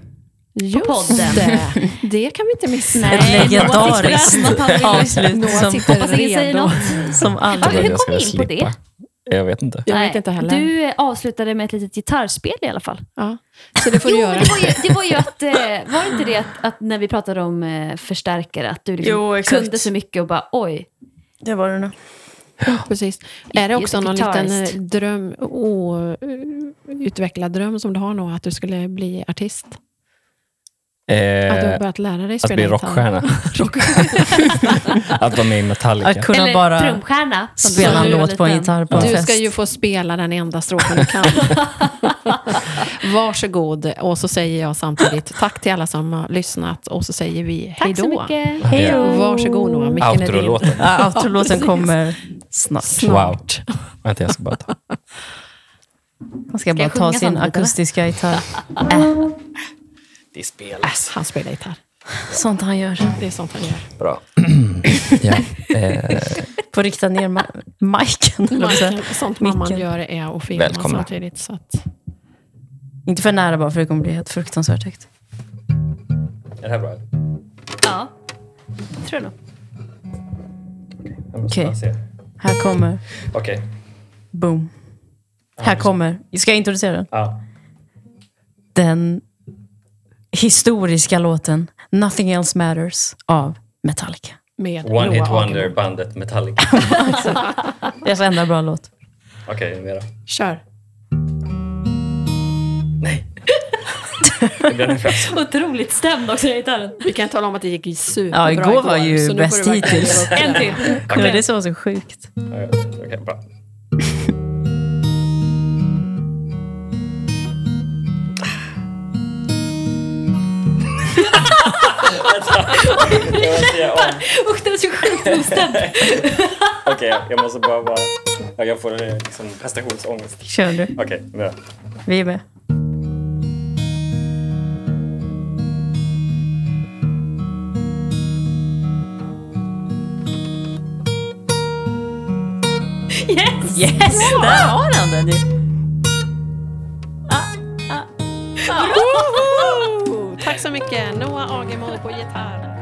[SPEAKER 2] Just
[SPEAKER 4] podden.
[SPEAKER 2] det. Det kan vi inte missa.
[SPEAKER 4] Nej.
[SPEAKER 3] Ett
[SPEAKER 4] Noah sitter där som att
[SPEAKER 3] legendariskt
[SPEAKER 4] han vill-
[SPEAKER 3] avslut
[SPEAKER 2] Noah
[SPEAKER 3] som,
[SPEAKER 2] sitter
[SPEAKER 4] Hoppas ingen säger
[SPEAKER 2] redo.
[SPEAKER 4] något.
[SPEAKER 3] som
[SPEAKER 4] Ja,
[SPEAKER 3] aldrig...
[SPEAKER 4] hur
[SPEAKER 1] jag
[SPEAKER 4] kom ni
[SPEAKER 1] ska
[SPEAKER 4] in på det?
[SPEAKER 1] Jag vet inte.
[SPEAKER 2] Jag
[SPEAKER 4] Nej,
[SPEAKER 2] vet inte heller.
[SPEAKER 4] Du eh, avslutade med ett litet gitarrspel i alla fall.
[SPEAKER 2] Ja. Så det får du
[SPEAKER 4] Jo,
[SPEAKER 2] göra.
[SPEAKER 4] men det var ju, det var ju att, eh, var det inte det att, att när vi pratade om eh, förstärkare, att du liksom
[SPEAKER 3] Jo, exakt.
[SPEAKER 4] kunde så mycket och bara oj.
[SPEAKER 3] Det var det nog.
[SPEAKER 2] Precis. Är det också någon liten eh,
[SPEAKER 4] Gitarrist.
[SPEAKER 2] dröm, outvecklad dröm som du har nog, att du skulle bli artist? Att du har
[SPEAKER 1] Eh,
[SPEAKER 2] börjat lära dig
[SPEAKER 1] att
[SPEAKER 2] spela
[SPEAKER 1] bli
[SPEAKER 2] gitarr?
[SPEAKER 1] rockstjärna.
[SPEAKER 2] Rockstjärna.
[SPEAKER 1] Att vara med i Metallica.
[SPEAKER 3] Att kunna
[SPEAKER 4] Eller
[SPEAKER 3] bara
[SPEAKER 4] trumstjärna. som du
[SPEAKER 3] spela
[SPEAKER 4] sa
[SPEAKER 3] en
[SPEAKER 4] när du var
[SPEAKER 3] låt på en
[SPEAKER 4] liten.
[SPEAKER 3] gitarr på en
[SPEAKER 2] Du
[SPEAKER 3] fest.
[SPEAKER 2] ska ju få spela den enda strofen du kan. Varsågod. Och så säger jag samtidigt tack till alla som har lyssnat och så säger vi hej
[SPEAKER 4] Tack så
[SPEAKER 2] då.
[SPEAKER 4] mycket.
[SPEAKER 1] Hej då.
[SPEAKER 2] Varsågod Noah, micken är din.
[SPEAKER 1] Outro-låten.
[SPEAKER 3] Ja, Outro-låten kommer snart.
[SPEAKER 1] Wow. Vänta, jag ska bara ta.
[SPEAKER 3] Man ska, bara
[SPEAKER 4] jag
[SPEAKER 3] ta
[SPEAKER 4] sjunga
[SPEAKER 3] sin
[SPEAKER 4] samtidigt, eller?
[SPEAKER 3] akustiska gitarr.
[SPEAKER 1] Det
[SPEAKER 2] Ass, han spelar gitarr.
[SPEAKER 3] Sånt han gör.
[SPEAKER 2] Det är sånt han gör.
[SPEAKER 1] Bra. ja. eh,
[SPEAKER 3] Får rikta ner ma- miken. eller vad man säger.
[SPEAKER 2] Michael, sånt mamman
[SPEAKER 3] Micken.
[SPEAKER 2] gör är att filma
[SPEAKER 1] Välkomna.
[SPEAKER 2] samtidigt. Så att,
[SPEAKER 3] Inte för nära bara, för det kommer bli helt fruktansvärt högt.
[SPEAKER 1] är det här bra?
[SPEAKER 4] Ja, tror jag nog.
[SPEAKER 1] Jag måste bara
[SPEAKER 3] Okej.
[SPEAKER 1] se.
[SPEAKER 3] Här kommer...
[SPEAKER 1] Okej.
[SPEAKER 3] Boom. Här kommer... Ska jag introducera den?
[SPEAKER 1] Ja.
[SPEAKER 3] Den historiska låten Nothing Else Matters av Metallica.
[SPEAKER 2] med
[SPEAKER 1] One hit
[SPEAKER 2] Noah
[SPEAKER 1] wonder,
[SPEAKER 2] Hagen.
[SPEAKER 1] bandet Metallica.
[SPEAKER 3] Deras enda bra låt.
[SPEAKER 1] Okej, okay, mera.
[SPEAKER 2] Kör.
[SPEAKER 1] Nej. Det blir den främst.
[SPEAKER 4] Otroligt stämd också, den gitarren.
[SPEAKER 2] Vi kan tala om att det gick superbra
[SPEAKER 3] Ja, igår var ju
[SPEAKER 2] så nu får
[SPEAKER 3] bäst
[SPEAKER 2] du verkligen
[SPEAKER 3] hittills.
[SPEAKER 2] leva upp
[SPEAKER 4] En
[SPEAKER 2] till
[SPEAKER 4] till.
[SPEAKER 3] Men det är så, så sjukt.
[SPEAKER 1] Okej, bra. Jag måste göra om.
[SPEAKER 4] Usch, den är så sjukt ostämd.
[SPEAKER 1] Okej, jag måste bara vara... ja, Jag får eh, liksom prestationsångest.
[SPEAKER 3] Kör du.
[SPEAKER 1] Okej, nu.
[SPEAKER 3] Vi är med.
[SPEAKER 4] Yes!
[SPEAKER 3] Yes! Där har han den ju.
[SPEAKER 2] det. Tack så mycket. Noah Agemo på gitarr.